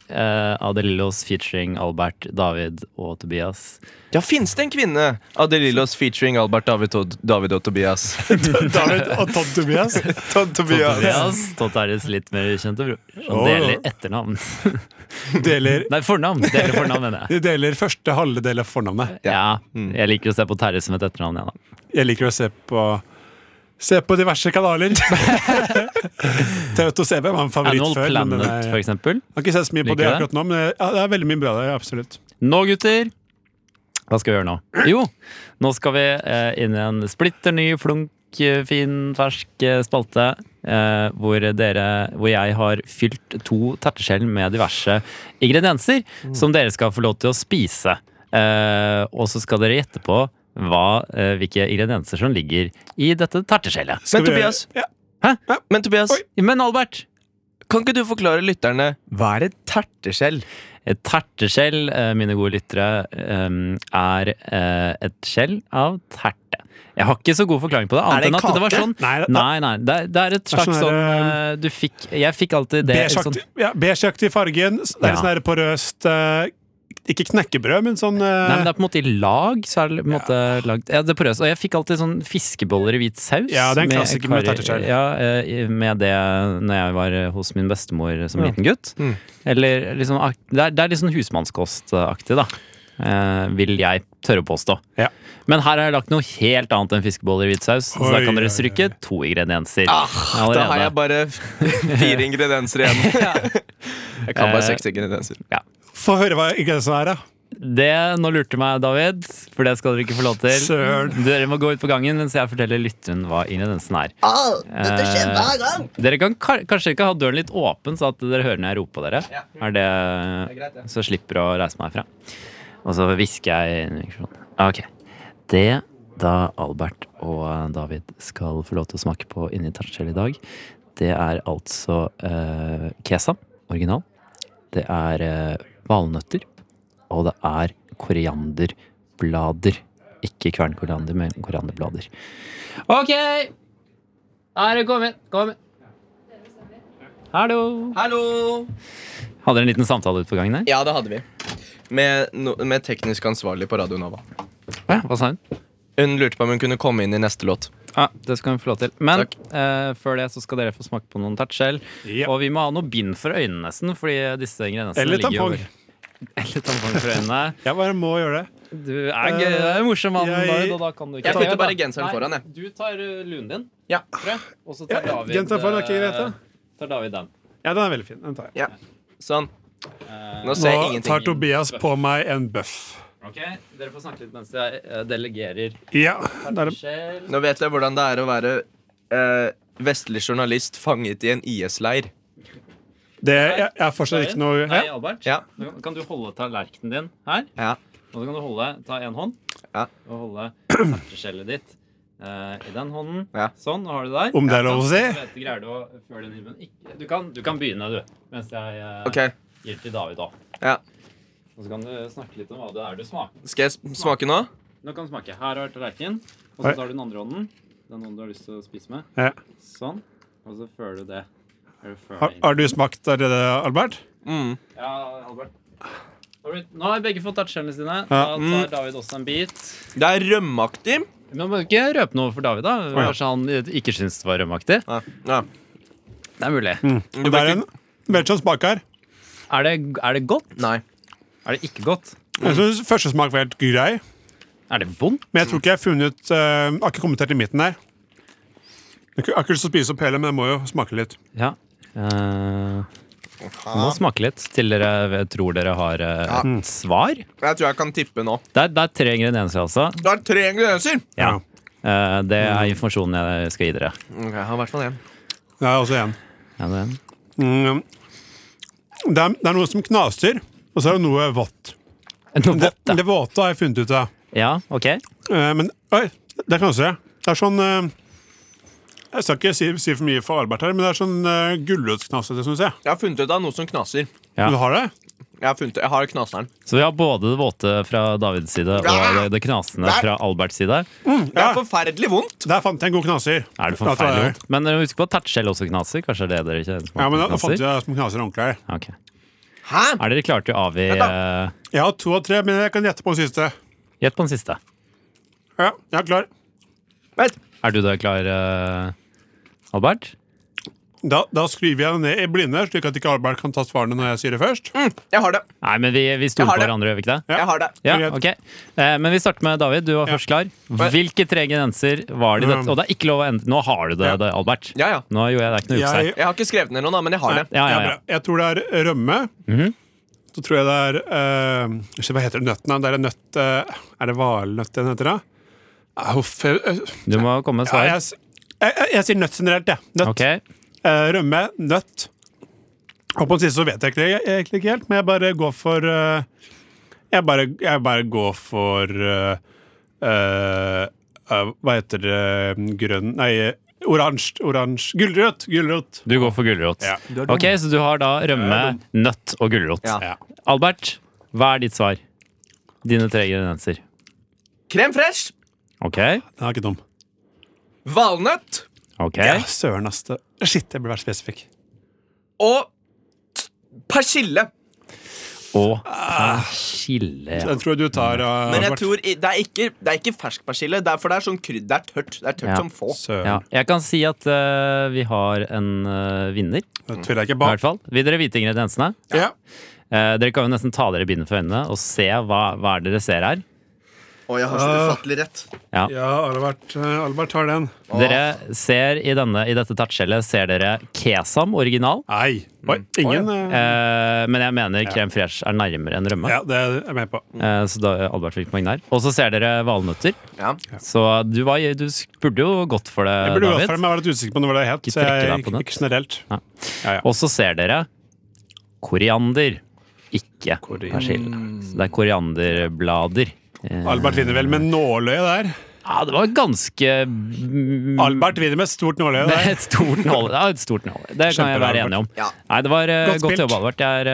C: eh, Adelillos featuring Albert, David og Tobias.
D: Ja, fins det en kvinne? Adelillos featuring Albert David og, David og Tobias.
E: David og Todd Tobias.
D: Todd Tobias.
C: Tobias, Totteris litt mer kjente bror. Han
E: Åh.
C: deler etternavn.
E: Deler,
C: Nei, fornavn. Deler fornavn, mener jeg.
E: de deler første halve del av fornavnet.
C: Ja, jeg liker å se på Terje som et etternavn, jeg, da.
E: Jeg liker å se på Se på diverse kanaler. TV2 CB var en favoritt
C: Animal
E: før. Men den
C: Planet,
E: er,
C: for eksempel.
E: jeg har ikke sett så mye på
C: Liker
E: det
C: du det?
E: akkurat nå, men eh, ja, det er veldig mye bra der. absolutt
C: Nå, gutter! Hva skal vi gjøre nå? Jo, nå skal vi eh, inn i en splitter ny, flunk, eh, fin, fersk eh, spalte. Eh, hvor, dere, hvor jeg har fylt to terteskjell med diverse ingredienser som dere skal få lov til å spise. Eh, og så skal dere gjette på hva, eh, hvilke ingredienser som ligger i dette terteskjellet.
E: Skal
D: Men
E: vi gjøre-
D: Tobias,
E: ja.
C: Eh,
D: men Tobias
C: Men Albert,
D: kan ikke du forklare lytterne hva er et terteskjell?
C: Et terteskjell, eh, mine gode lyttere, eh, er eh, et skjell av terte. Jeg har ikke så god forklaring på det.
D: Er det
C: Annet enn
D: en
C: at det var
D: kake?
C: sånn
E: Nei, da-
C: Nei, nei. Det er, det er et
E: er
C: slags
E: sånn
C: sånn
E: her,
C: eh, Du fikk Jeg fikk alltid det. et sånn-
E: Beigeaktig ja, beigeaktig i fargen. s- Det er
C: Ja.
E: sånn her porøst eh, Ikke knekkebrød, men sånn eh,
C: Nei, men det er på en måte i lag. Så er det på en måte lagd Ja, det er porøst. Og jeg fikk alltid sånn fiskeboller i hvit saus.
E: Ja, det er en klassiker med
C: kari-
E: terteskjell.
C: Ja, eh, med det når jeg var eh, hos min bestemor som liten gutt.
D: Mm.
C: Eller liksom ak- Det er, det er litt sånn husmannskostaktig, da. Eh, vil jeg tørre å påstå.
E: Ja.
C: Men her har jeg lagt noe helt annet enn fiskeboller i hvit saus. Så da
E: Oi,
C: kan
E: oi,
C: dere
E: oi.
C: stryke to ingredienser.
D: Ah, Da
C: allerede.
D: har jeg bare fire ingredienser igjen. Jeg kan bare seks ingredienser.
E: Få høre hva ingrediensene er, da.
C: Det, nå lurte du meg, David, for det skal dere ikke få lov til.
E: Søren.
C: Dere må gå ut på gangen mens jeg forteller lytteren hva ingrediensen er. dette skjer hver gang Dere kan ka- kanskje ikke ha døren litt åpen, så at dere hører når jeg roper på dere. Er det, Så slipper jeg å reise meg herfra. Og så hvisker jeg inn i mikrofonen. Ok. Det da Albert og David skal få lov til å smake på inni tertskjell i dag, det er altså eh, kesam, original. Det er eh, valnøtter. Og det er korianderblader. Ikke kvernkoriander, men korianderblader. Ok! Er det kommet? Kom inn. Hallo.
D: Hallo!
C: Hadde dere en liten samtale ute på gangen her?
D: Ja, det hadde vi. Med, no, med teknisk ansvarlig på Radio Nova.
C: Ja, hva sa hun?
D: Hun lurte på om hun kunne komme inn i neste låt.
C: Ja, Det skal hun få lov til. Men
D: Takk.
C: eh, før det så skal dere få smake på noen tertskjell.
E: Ja.
C: Og vi må ha noe bind for øynene, nesten, fordi disse ingrediensene
E: Eller
C: ligger jo
E: tampong.
C: over- Eller tampong for øynene.
E: Jeg bare må gjøre det.
C: Du er gøy, du er en morsom mann,
E: Jeg-
C: David, og da kan du ikke
D: Jeg putter bare
C: Nei,
D: genseren foran, jeg.
C: Du tar eh, luen din,
D: Ja.
C: tror jeg. Og så tar
E: Ja,
C: David
E: genseren foran er ikke greit, da.
C: eh, Tar David den.
E: Ja, den er veldig fin. Den tar jeg.
D: Sånn. Nå ser jeg
E: Nå
D: ingenting.
E: tar Tobias på meg en bøff.
C: Ok, Dere får snakke litt mens jeg eh, delegerer
E: Ja, det er det.
C: selv.
D: Nå vet jeg hvordan det er å være eh, vestlig journalist fanget i en IS-leir.
E: det jeg, jeg har fortsatt ikke noe
C: Hei,
E: ja.
C: Albert.
D: Ja.
C: Nå kan- Kan du holde tallerkenen din her?
D: Ja.
C: Og så kan du holde, ta én hånd
D: Ja.
C: og holde terteskjellet ditt eh, i den hånden.
D: Ja.
C: Sånn, nå har du det der.
E: Om det er lov å si?
C: Du, vet, greier du, å føre den inn, men ikke, du, kan, du kan begynne, du. Mens jeg eh,
D: Ok,
C: gir til David òg.
D: Ja.
C: Og så kan du snakke litt om hva det er du smaker.
D: Skal jeg sm- smake nå?
C: Nå kan du smake. Her har du tallerkenen. Og
E: Oi.
C: så tar du den andre hånden. Den hånden du har lyst til å spise med.
E: Ja.
C: Sånn. Og så fører du det. Er du fører
E: Har,
C: det inn.
E: har du smakt av det, Albert?
D: Mm.
C: Ja, Albert. Alright, Nå har begge fått tertskjellene sine.
E: Ja. Mm.
C: Da tar David også en bit.
D: Det er rømmeaktig.
C: Men må ikke røpe noe for David, da.
E: ja.
C: Kanskje han ikke syns det var rømmeaktig.
D: Ja. Ja.
C: Mm, Det er mulig.
E: Det er en veldig sånn smak her.
C: Er det, er det godt?
D: Nei.
C: Er det ikke godt?
E: Jeg synes Første smak var helt grei,
C: Er det vondt?
E: men jeg tror ikke jeg har funnet eh, Jeg har ikke kommet helt til midten der. Jeg har ikke lyst til å spise opp hele, men jeg må jo smake litt.
C: Ja. Uh, må smake litt til dere tror dere har eh,
E: Mm.
C: et svar.
D: Jeg tror jeg kan tippe nå.
C: Det er, det er tre ingredienser, altså.
D: Det er tre ingredienser.
C: Ja. Eh, det
E: Mm.
C: er informasjonen jeg skal gi dere.
D: Ok, jeg har i hvert fall en.
E: Jeg har også en.
C: Ja, det-
E: altså Mm. Det, er, det er noe som knaser, og så er det noe vått.
C: Noe
E: Det,
C: vått, da.
E: det våte har jeg funnet ut av.
C: Ja, ok.
E: Eh, men Oi, der knaser jeg. Det er sånn eh, Jeg skal ikke si, si for mye for Albert her, men det er sånn uh, gulrotsknasete, syns jeg.
D: Jeg har funnet ut av noe som knaser.
C: Ja.
E: Du har det?
D: Jeg har, funnet, jeg har knaseren.
C: Så vi har både det våte fra Davids side og det, det knasende fra Alberts side.
D: Det er forferdelig vondt.
E: Der fant jeg en god knaser.
C: Er det
E: Da tar
C: forferdelig
E: jeg-
C: vondt? Men dere må huske på at tertskjell også knaser. Kanskje det er det dere ikke smaker
E: Ja, men da, da fant
C: knaser?
E: jeg det som knaser ordentlig her.
C: Ok.
D: Hæ?
C: Er dere klare til å avgi eh,
E: Jeg har to av tre, men jeg kan gjette på den siste.
C: Gjett på den siste.
E: Ja, jeg er klar.
D: Vent.
C: Er du da klar, eh, Albert?
E: Da, da skriver jeg ned i blinde, slik at ikke Albert kan ta svarene når jeg sier det først.
D: Jeg har det.
C: Nei, men vi, vi stoler
D: Jeg har
C: på
D: det.
C: hverandre, gjør vi ikke det?
D: Mm, Jeg har det.
C: Ja,
E: Greit.
C: ok. Eh, men vi starter med David. Du var først klar. Hvilke tre ingredienser var det i
E: Um.
C: dette? Og det er ikke lov å endre. Nå har du det,
E: Ja.
C: det, Albert.
D: Ja, ja.
C: Nå gjorde jeg det ikke noe juks her.
E: Jeg-
D: Jeg har ikke skrevet ned noen, da, men jeg har det.
C: Ja, Mhm. ja,
E: Det
C: ja.
E: er bra. Jeg tror det er rømme. Så tror jeg det er eh, ikke, Hva heter det nøttene? Det er en nøtt eh, Er det valnøtt den heter, da? Ah, Huff eh,
C: Du må komme med
E: ja, jeg,
C: svar.
E: s- jeg, jeg, jeg sier nøtt generelt, jeg. Nøtt.
C: Ok.
E: Eh, rømme, nøtt. Og på den siste så vet jeg ikke, jeg, egentlig ikke helt, men jeg bare går for eh, jeg, bare, jeg bare går for eh, eh, eh, Hva heter det Grønn Nei, eh, oransje. Oransje. Gulrot! Gulrot.
C: Du går for gulrot.
E: Ja. Du er dum.
C: Ok, Så du har da rømme, nøtt og gulrot.
D: Ja.
E: Ja.
C: Albert, hva er ditt svar? Dine tre ingredienser.
D: Krem fresh,
C: Ok.
E: Den er ikke dum.
D: valnøtt
C: ok.
E: Ja, søren, ass. det- Shit, jeg burde vært spesifikk.
D: og persille.
C: Og
E: Ah.
C: persille.
E: Den tror jeg du tar. Uh,
D: Men jeg tror i- det er ikke, det er ikke fersk persille. Det er, for det er sånn krydder. Det er tørt. Det er tørt
C: Ja.
D: som få.
E: Søren.
C: Ja, jeg kan si at eh, vi har en eh, vinner, i
E: Det tviler jeg ikke på.
C: hvert fall. Vil dere vite ingrediensene?
E: Ja.
C: Eh, dere kan jo nesten ta dere bindet for øynene og se hva, hva er det dere ser her.
D: Og jeg har så ufattelig rett.
E: Ja, Albert, eh, Albert tar den.
C: Dere ser i, denne, i dette tattskjellet ser dere kesam original,
E: Nei. Oi, ingen eh,
C: eh, men jeg mener krem fresh er nærmere enn rømme.
E: Ja, det er jeg med på.
C: Eh, så da Albert fikk poeng der. Og så ser dere valnøtter.
D: Ja.
C: Så du, var, du burde jo gått for det,
E: Jeg burde gått for
C: David.
E: dem, jeg var litt usikker på når det het.
C: Ikke
E: Så jeg
C: trekke deg
E: gikk
C: på nett.
E: ikke generelt.
C: Nei.
E: Ja, ja.
C: Og så ser dere koriander, ikke persille. Så det er korianderblader. Eh,
E: Albert vinner vel med nåløye der.
C: ja, det var ganske mm,
E: Albert vinner med stort nåløye der.
C: Det er et stort nål. Ja, et stort nål. Det kan
E: Kjempebra,
C: jeg være
E: Albert.
C: enig om.
D: Ja.
C: Nei, det var eh,
E: Godt
C: godt,
E: spilt.
C: jobba, Albert. Jeg er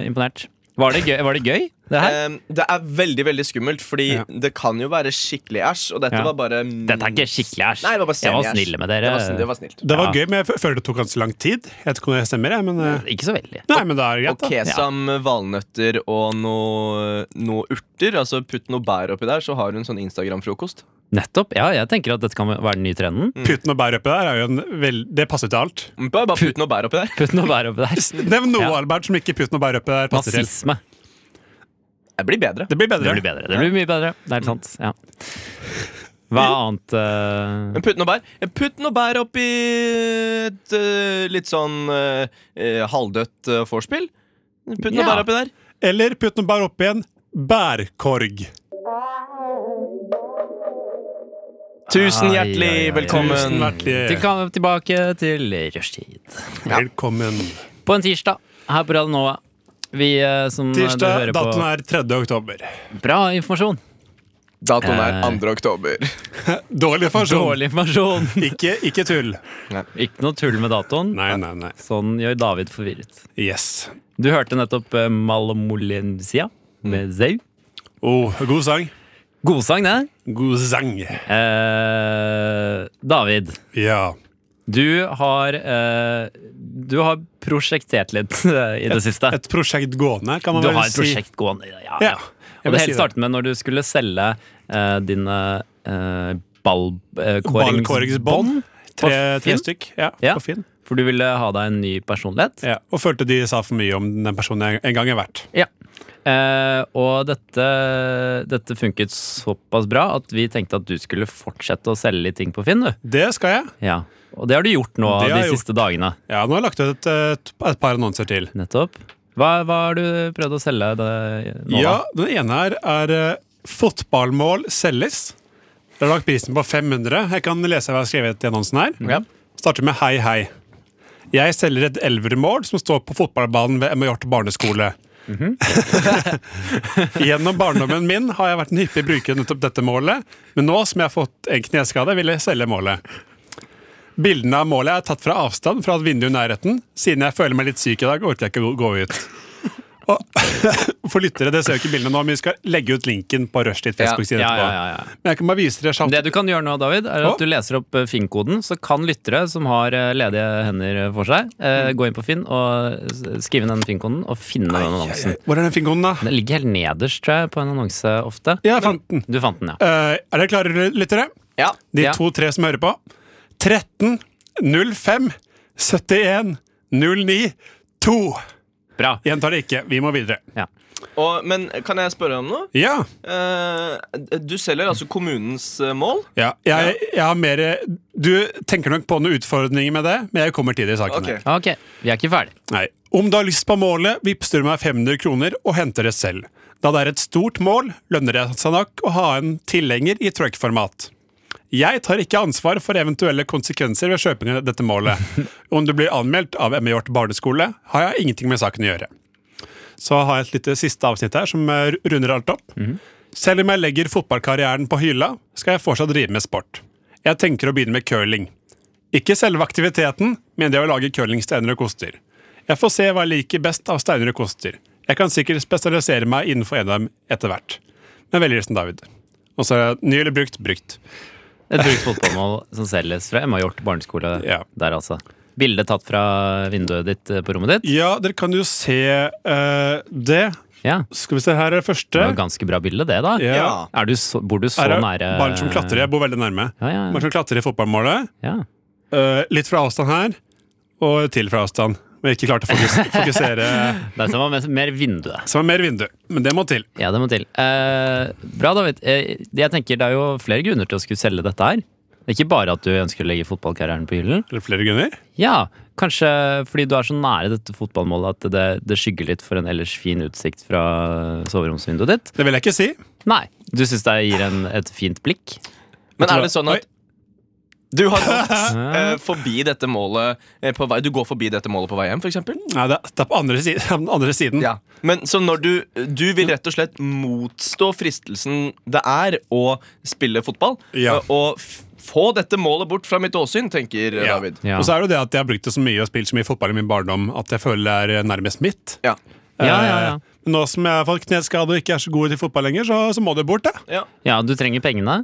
C: eh, imponert. Var det gøy, var det, gøy det her?
D: Um, det er veldig veldig skummelt, fordi
E: Ja.
D: det kan jo være skikkelig æsj. Og dette
C: Ja.
D: var bare mm,
C: Dette er ikke skikkelig æsj.
D: Nei, det var bare
C: Jeg var
D: semi-æsj.
C: snill med dere.
D: Det var, sn- det var snilt.
E: Det var
C: Ja.
E: gøy, men jeg f- føler det tok ganske lang tid. Jeg vet ikke om det stemmer, jeg, men eh,
C: Ikke så veldig.
E: Nei, men det er greit,
D: Og
E: da.
D: kesam, valnøtter og noe, noe urter. Altså Putt noe bær oppi der, så har hun sånn Instagram-frokost.
C: Nettopp. Ja, jeg tenker at dette kan være den nye trenden.
E: Putten og bær oppi der er jo en vel... Det passer til alt.
D: Bare, bare putt noe bær oppi der.
C: Putt noe bær oppi der.
E: Nevn noe,
C: Ja.
E: Albert, som ikke putten og bær oppi der passer til.
C: Nazisme.
D: Det blir bedre.
E: Det blir bedre.
C: Det blir bedre. Det blir mye bedre. Det er helt sant. Ja. Hva annet eh,
D: Men putt noe bær Putt noe bær oppi et eh, litt sånn eh, eh, halvdødt eh, vorspiel. Putt noe
C: Ja.
D: bær oppi der.
E: Eller putt noe bær oppi en bærkorg.
D: Tusen
C: Ai,
D: hjertelig
C: ai, ai.
D: velkommen.
E: Tusen hjertelig.
C: Tilka- Tilbake til rushtid.
E: Velkommen.
C: På en tirsdag her på Radio Nova. Vi eh, som eh,
E: Tirsdag,
C: du
E: datoen
C: hører
E: er 3. oktober.
C: på. Bra informasjon.
D: Datoen er
C: Eh.
D: 2. oktober.
E: Dårlig informasjon.
C: Dårlig informasjon.
E: Ikke, ikke tull.
C: Ikke noe tull med datoen.
E: Nei, nei, nei.
C: Sånn gjør David forvirret.
E: Yes.
C: Du hørte nettopp eh, Malamolensia
E: Mm.
C: med Zau.
E: Oh, god sang.
C: Godsang, det.
E: God sang.
C: Eh, David,
E: Ja.
C: du har eh, Du har prosjektert litt eh, i det siste.
E: Et prosjekt gående, kan man
C: Du
E: vel
C: har et
E: si.
C: prosjekt gående. Ja, ja.
E: Ja,
C: Og
E: jeg vil
C: det
E: si
C: hele
E: det.
C: startet med når du skulle selge eh, dine eh, ball, eh,
E: Ballkåringsbånd. Tre, tre
C: Finn?
E: stykk. Ja,
C: Ja.
E: på Finn.
C: For du ville ha deg en ny personlighet.
E: Ja. Og følte de sa for mye om den personen jeg en gang har vært.
C: Ja. Eh, og dette, dette funket såpass bra at vi tenkte at du skulle fortsette å selge litt ting på Finn. du.
E: Det skal jeg.
C: Ja. Og det har du gjort nå
E: Det
C: de
E: har jeg
C: siste dagene.
E: Ja, nå har jeg lagt ut et, et, et par annonser til.
C: Nettopp. Hva, hva har du prøvd å selge det nå,
E: Ja,
C: da?
E: Den ene her er eh, 'Fotballmål selges'. Jeg har lagt prisen på 500. Jeg kan lese hva jeg har skrevet i annonsen her. Starter med 'Hei, hei'. Jeg selger et elvermål som står på fotballbanen ved Emmaort barneskole. Gjennom barndommen min har jeg vært en hyppig bruker av nettopp dette målet, men nå som jeg har fått en kneskade, vil jeg selge målet. Bildene av målet er tatt fra avstand fra et vindu i nærheten. Siden jeg føler meg litt syk i dag, orker jeg ikke å gå ut. Og for lyttere, det ser jo ikke bildene nå, men vi skal legge ut linken på Rushdit Facebook-side
C: Ja, ja,
E: etterpå.
C: ja, ja.
E: Men jeg kan bare vise dere kjapt.
C: Det du kan gjøre nå, David, er
E: Å.
C: at du leser opp eh, Finn-koden. Så kan lyttere som har eh, ledige hender for seg, eh,
E: Mm.
C: gå inn på Finn og s- skrive inn den Finn-koden og finne den annonsen.
E: Hvor er den fingonen, da?
C: Den ligger helt nederst, tror jeg, på en annonse ofte.
E: Ja, jeg fant den.
C: Du fant den, ja.
E: Eh, er dere klare, lyttere?
D: Ja.
E: De
C: Ja.
E: to-tre som hører på. 13 05 71 09 2.
C: Bra.
E: Gjentar det ikke. Vi må videre.
D: Og, men kan jeg spørre om noe?
E: Ja.
D: Eh, du selger altså kommunens eh, mål?
E: ja. Jeg, jeg har mer Du tenker nok på noen utfordringer med det, men jeg kommer til det i saken.
D: Ok.
E: her.
C: Ok, vi er ikke ferdig.
E: Nei. Om du har lyst på målet, vipser du meg 500 kroner og henter det selv. Da det er et stort mål, lønner det seg nok å ha en tilhenger i truck-format. Jeg tar ikke ansvar for eventuelle konsekvenser ved kjøping av dette målet. Om du blir anmeldt av Emme Hjort barneskole, har jeg ingenting med saken å gjøre. Så har jeg et lite siste avsnitt her som eh, runder alt opp. Selv om jeg legger fotballkarrieren på hylla, skal jeg fortsatt drive med sport. Jeg tenker å begynne med curling. Ikke selve aktiviteten, men det å lage curlingsteiner og koster. Jeg får se hva jeg liker best av steiner og koster. Jeg kan sikkert spesialisere meg innenfor en av dem etter hvert. Med veldig hilsen David. Og så er det ny eller brukt brukt.
C: Et brukt fotballmål som selges fra Emma Hjort barneskole
E: Ja.
C: der, altså. Bilde tatt fra vinduet ditt eh, på rommet ditt.
E: Ja, dere kan jo se eh, det.
C: Ja,
E: Skal vi se, her er det
C: det
E: første.
C: var et ganske bra bilde, det, da.
E: Ja.
C: Er du så, bor du så
E: Her er
C: nære
E: barn som klatrer. Jeg bor veldig nærme.
C: Ja, ja,
E: Barn som klatrer i fotballmålet.
C: ja.
E: Eh, litt fra avstand her, og til fra avstand. Men jeg ikke klarte å fokus fokusere.
C: Det er som om mer- mer vinduet.
E: Så det er mer vindu. Men det må til.
C: Ja, det må til. Eh, bra, David. Eh, jeg tenker Det er jo flere grunner til å skulle selge dette her. Det er Ikke bare at du ønsker å legge fotballkarrieren på hyllen.
E: Eller flere grunner.
C: Ja, Kanskje fordi du er så nære dette fotballmålet at det, det skygger litt for en ellers fin utsikt fra soveromsvinduet ditt.
E: Det vil jeg ikke si.
C: Nei, du syns det gir en, et fint blikk?
D: Men
E: tror
D: er det
E: jeg-
D: sånn at du har gått eh, forbi dette målet eh, på vei, Du går forbi dette målet på vei hjem, f.eks.?
E: Nei, det er, det er på andre siden. på den Andre siden.
D: Ja. Men så når du Du vil rett og slett motstå fristelsen det er å spille fotball?
E: Ja.
D: eh, Og f få dette målet bort fra mitt åsyn, tenker eh,
E: Ja.
D: David.
C: Ja.
E: Og så er det jo det at jeg har brukt det så mye og spilt så mye fotball i min barndom at jeg føler det er nærmest mitt.
D: Ja.
C: Ja, ja, ja.
E: Eh, Men nå som jeg har fått kneskade og ikke er så god til fotball lenger, så, så må det bort, det.
D: Ja.
C: ja, du trenger pengene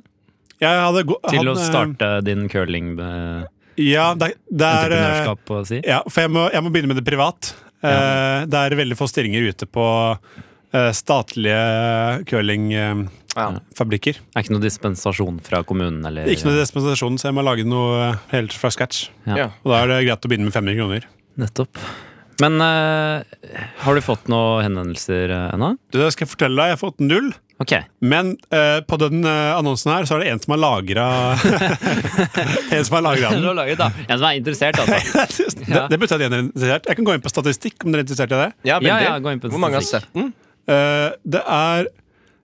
E: Jeg hadde go-
C: til å
E: hadde-
C: starte din eh, curlingentreprenørskap,
E: Ja, det, det er eh,
C: å si.
E: Ja, for jeg må, jeg må begynne med det privat. Eh, Det er veldig få stillinger ute på eh, statlige eh, curlingfabrikker.
D: Ja.
C: Er ikke noe dispensasjon fra kommunen, eller?
E: Ikke noe dispensasjon, så jeg må lage noe eh, helt fra scratch.
C: Ja.
D: Ja.
E: Og da er det greit å begynne med 500 kroner.
C: Nettopp. Men eh, har du fått noen henvendelser eh, ennå?
E: Du, det skal jeg fortelle deg, jeg har fått null.
C: Ok.
E: Men eh, på den eh, annonsen her så er det en som har lagra En som har lagra den.
C: En som er interessert, altså.
E: Det, det betyr at en er interessert. Jeg kan gå inn på statistikk om dere er interessert i det.
D: Ja,
C: Ja,
D: veldig.
C: ja, gå inn på
D: Hvor mange har
C: statistikk.
D: sett den?
E: Eh, det er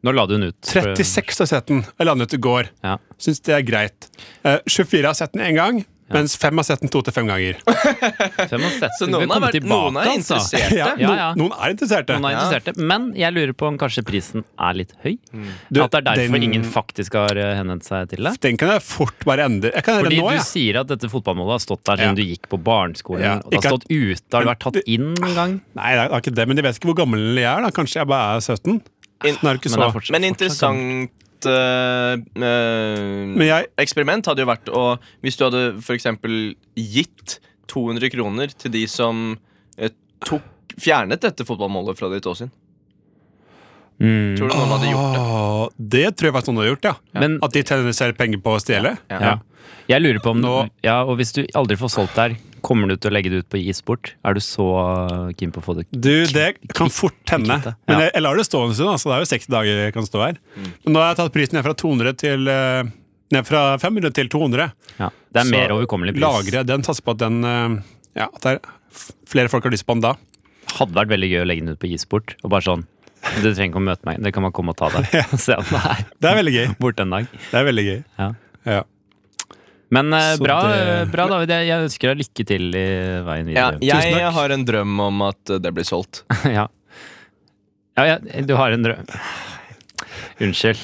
C: Nå la du den ut.
E: 36 har sett den. Jeg landet i går.
C: Ja.
E: Syns det er greit. Eh, 24 har sett den én gang, mens 5 har sett den to til fem ganger.
C: Så
D: Så noen, har vært, noen er interesserte.
E: Ja,
C: Ja,
E: no,
C: ja.
E: Noen er interesserte.
C: altså. Noen er interesserte, Men jeg lurer på om kanskje prisen er litt høy?
D: Mm.
E: Du,
C: At det er derfor
E: den-
C: ingen faktisk har eh, henvendt seg til deg?
E: Den kan jeg fort bare endre. Jeg kan endre
C: Fordi
E: den nå,
C: du
E: ja.
C: sier at dette fotballmålet har stått der
E: Ja.
C: siden du gikk på barneskolen.
E: Ja,
C: Og det
E: ikke at-
C: har stått ute. Har du vært tatt
E: Men-
C: inn en gang?
E: Nei, det er ikke det, men de vet ikke hvor gammel jeg er. da Kanskje jeg bare er 17?
D: In-
E: Den er jo ikke
C: Men det er
E: så
C: fortsatt-
D: Men
C: fortsatt
D: interessant eh, eh,
E: Men jeg-
D: eksperiment hadde jo vært å Hvis du hadde for eksempel gitt 200 kroner til de som eh, tok, fjernet dette fotballmålet fra ditt åsyn
C: Mm.
D: Tror du noen hadde gjort det?
E: Åh, Ah, det tror jeg faktisk noen har gjort, ja.
C: Men-
E: At de tjener selv penger på å stjele.
D: Ja.
C: Ja. Jeg lurer på om du,
E: Nå-
C: ja, Og hvis du aldri får solgt der, kommer du til å legge det ut på e-sport? Er du så uh, keen på å få det
E: Du, det kan fort hende.
C: Kvitte.
E: Men
C: Ja. Mm.
E: jeg, jeg lar det stå en stund. Altså. Det er jo 60 dager jeg kan stå her. Men nå har jeg tatt prisen ned fra 200 til eh, Ned fra 500 til 200.
C: Ja, det er
E: Så
C: mer overkommelig pris.
E: Lagrer jeg den, satser på at den eh, Ja, at det er f- flere folk har lyst på den da.
C: Hadde vært veldig gøy å legge den ut på e-sport. Og bare sånn Du trenger ikke å møte meg, det kan man komme og ta deg. Se om det er
E: Det er veldig gøy.
C: borte en dag.
E: Det er veldig gøy.
C: Ja.
E: Ja.
C: Men eh,
E: Så
C: bra,
E: det-
C: bra, David. Jeg, jeg ønsker deg lykke til i veien
D: Ja,
C: videre.
D: jeg
E: Tusen takk.
D: har en drøm om at eh, det blir solgt.
C: Ja. Ja, ja, du har en drøm. Unnskyld.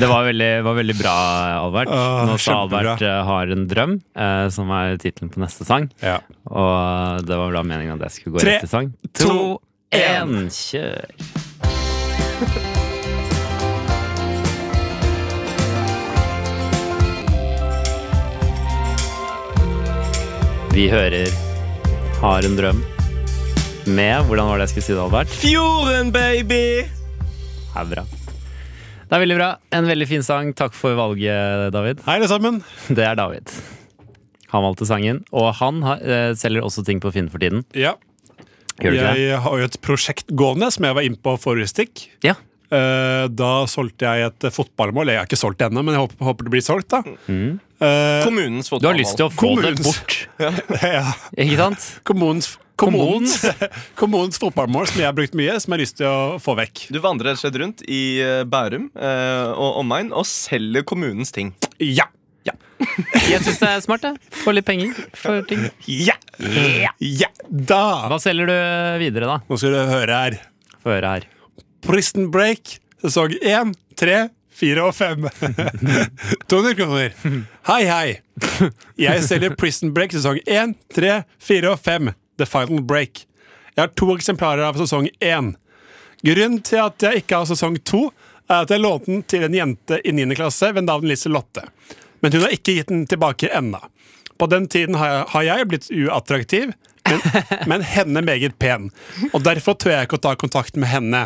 C: Det var veldig, var veldig bra, Albert.
E: Åh,
C: Nå sa
E: kjempebra.
C: Albert eh, 'Har en drøm', eh, som er tittelen på neste sang.
E: Ja.
C: Og det var bra meningen at jeg skulle gå
E: Tre,
C: rett til sang.
E: to,
C: To, én, kjør! Vi hører 'Har en drøm' med Hvordan var det jeg skulle si det, Albert?
D: Fjorden, baby!
C: er bra. Det er veldig bra. En veldig fin sang. Takk for valget, David.
E: Hei, alle sammen.
C: Det er David. Han valgte sangen. Og han har, eh, selger også ting på Finn for tiden.
E: Ja.
C: Gjør du ikke det?
E: Jeg har jo et prosjekt gående som jeg var inne på forrige stikk.
C: Ja.
E: Eh, Da solgte jeg et eh, fotballmål. Jeg har ikke solgt det ennå, men jeg håper, håper det blir solgt. da Eh,
D: Kommunens
C: Du har lyst til å få det
E: Kommunens-
C: bort,
E: ja.
C: ikke sant?
E: Kommunens, kommunens, kommunens fotballmål som jeg har brukt mye, som jeg har lyst til å få vekk.
D: Du vandrer rett og slett rundt i eh, Bærum eh, og omegn og selger kommunens ting.
E: Ja!
C: Jeg syns det er smart. jeg. Få litt penger for ting.
E: Ja! Ja! Da!
C: Hva selger du eh, videre, da?
E: Nå skal du høre her.
C: Få høre her.
E: Prison Break, sesong 1, 3, 4 og 5. 200 kroner. Hei, hei. Jeg selger Prison Break sesong 1, 3, 4 og 5. The Final Break. Jeg har to eksemplarer av sesong 1. Grunnen til at jeg ikke har sesong 2, er at jeg lånte den til en jente i 9. klasse ved navn Lise Lotte. Men hun har ikke gitt den tilbake ennå. På den tiden har jeg, har jeg blitt uattraktiv, men, men henne meget pen. Og derfor tør jeg ikke å ta kontakt med henne.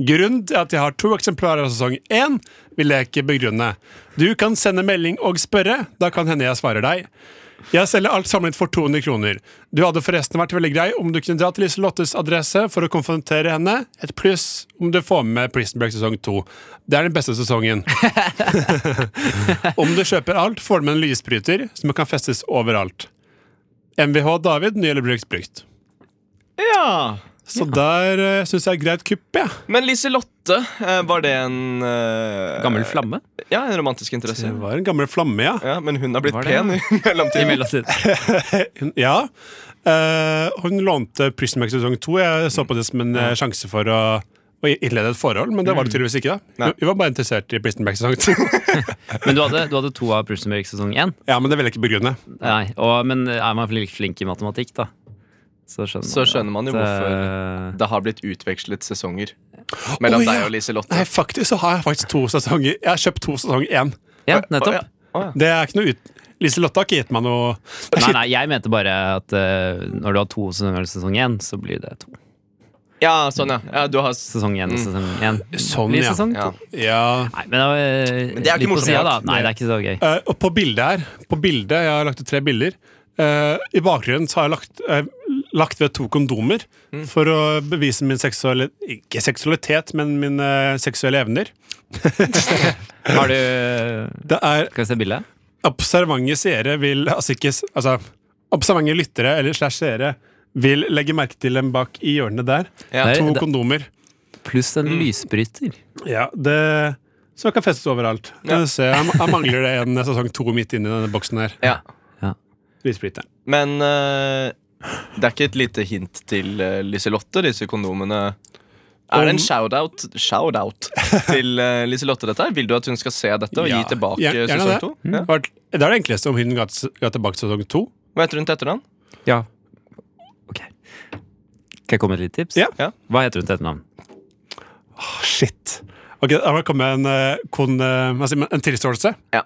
E: Grunn til at jeg har to eksemplarer av sesong 1 vil jeg ikke begrunne. Du kan sende melding og spørre, da kan hende jeg svarer deg. Jeg selger alt samlet for 200 kroner. Du hadde forresten vært veldig grei om du kunne dra til Liselottes adresse for å konfrontere henne. Et pluss om du får med Prison Break sesong 2. Det er den beste sesongen. om du kjøper alt, får du med en lysbryter som kan festes overalt. MVH David, ny eller brukt brukt.
D: Ja.
E: Så der uh, syns jeg er greit kupp, jeg. Ja.
D: Men Liselotte, eh, var det en eh,
C: Gammel flamme.
D: Ja, en romantisk interesse.
E: Det var en gammel flamme, ja.
D: Ja, Men hun har blitt
C: Var det?
D: pen i
C: I
D: mellomtiden.
C: mellomtiden.
E: Hun- Ja. Eh, hun lånte Prison Break sesong 2. Jeg så på det som en eh, sjanse for å, å innlede et forhold, men det var det tydeligvis ikke. da
D: Nei.
E: Vi- Vi var bare interessert i Prison Break sesong 2.
C: Men du hadde, du hadde to av Prusenberg sesong én.
E: ja, men det vil jeg ikke begrunne.
C: Nei, og, men er man flink, flink i matematikk, da, så skjønner
D: Så skjønner man jo
C: eh, hvorfor.
D: Det har blitt utvekslet sesonger mellom
E: Å, ja.
D: deg og Liselotte.
E: Nei, faktisk så har jeg faktisk to sesonger. Jeg har kjøpt to sesonger én.
C: Ja, nettopp.
D: Å, ja. Å, ja.
E: Det er ikke noe ut... Lise Lotte har ikke gitt meg noe
C: Nei, nei, jeg mente bare at eh, når du har to sesonger i sesong én, så blir det to.
D: ja, sånn, ja. ja du har... s-
C: Sesong én og sesong én.
E: Mm. Sånn,
C: blir
E: ja.
C: sesong to.
D: Ja.
E: Ja.
C: Nei, men, eh,
D: det er ikke
C: litt på
D: morsomt.
C: siden, da. Nei, det er ikke så gøy.
E: Eh, og på bildet her På bildet, Jeg har lagt ut tre bilder. eh, I bakgrunnen så har jeg lagt, eh, lagt ved to kondomer for å bevise min seksuelle Ikke seksualitet, men mine eh, seksuelle evner.
C: Har du
E: Det er
C: Skal vi se bildet?
E: observante seere vil Altså ikke s- altså, Observante lyttere eller slash seere vil legge merke til dem bak i hjørnet der.
D: Ja.
C: Nei.
E: To
C: det-
E: kondomer.
C: Pluss en lysbryter.
E: Ja, det Som kan festes overalt. Jeg, ser, jeg, jeg mangler det en sesong to midt inni denne boksen her.
D: Ja.
E: Lysbryteren.
D: Men eh, det er ikke et lite hint til eh, Liselotte, disse kondomene. Er det en shout-out shout til eh, Liselotte, dette her? Vil du at hun skal se dette og
E: Ja,
D: gi tilbake
E: gjer- gjerne
D: sesong
E: det. Mm.
D: to? Ja.
E: Det var- det er det enkleste om hun ga s- ga tilbake sesong to.
D: Hva heter hun til etternavn?
C: Ja. Ok. Kan jeg komme med et lite tips?
E: Ja.
D: Ja.
C: Hva heter hun til etternavn?
E: Shit. Ok, Da må det komme en, eh, kon, eh, hva sier man, en tilståelse.
D: Ja.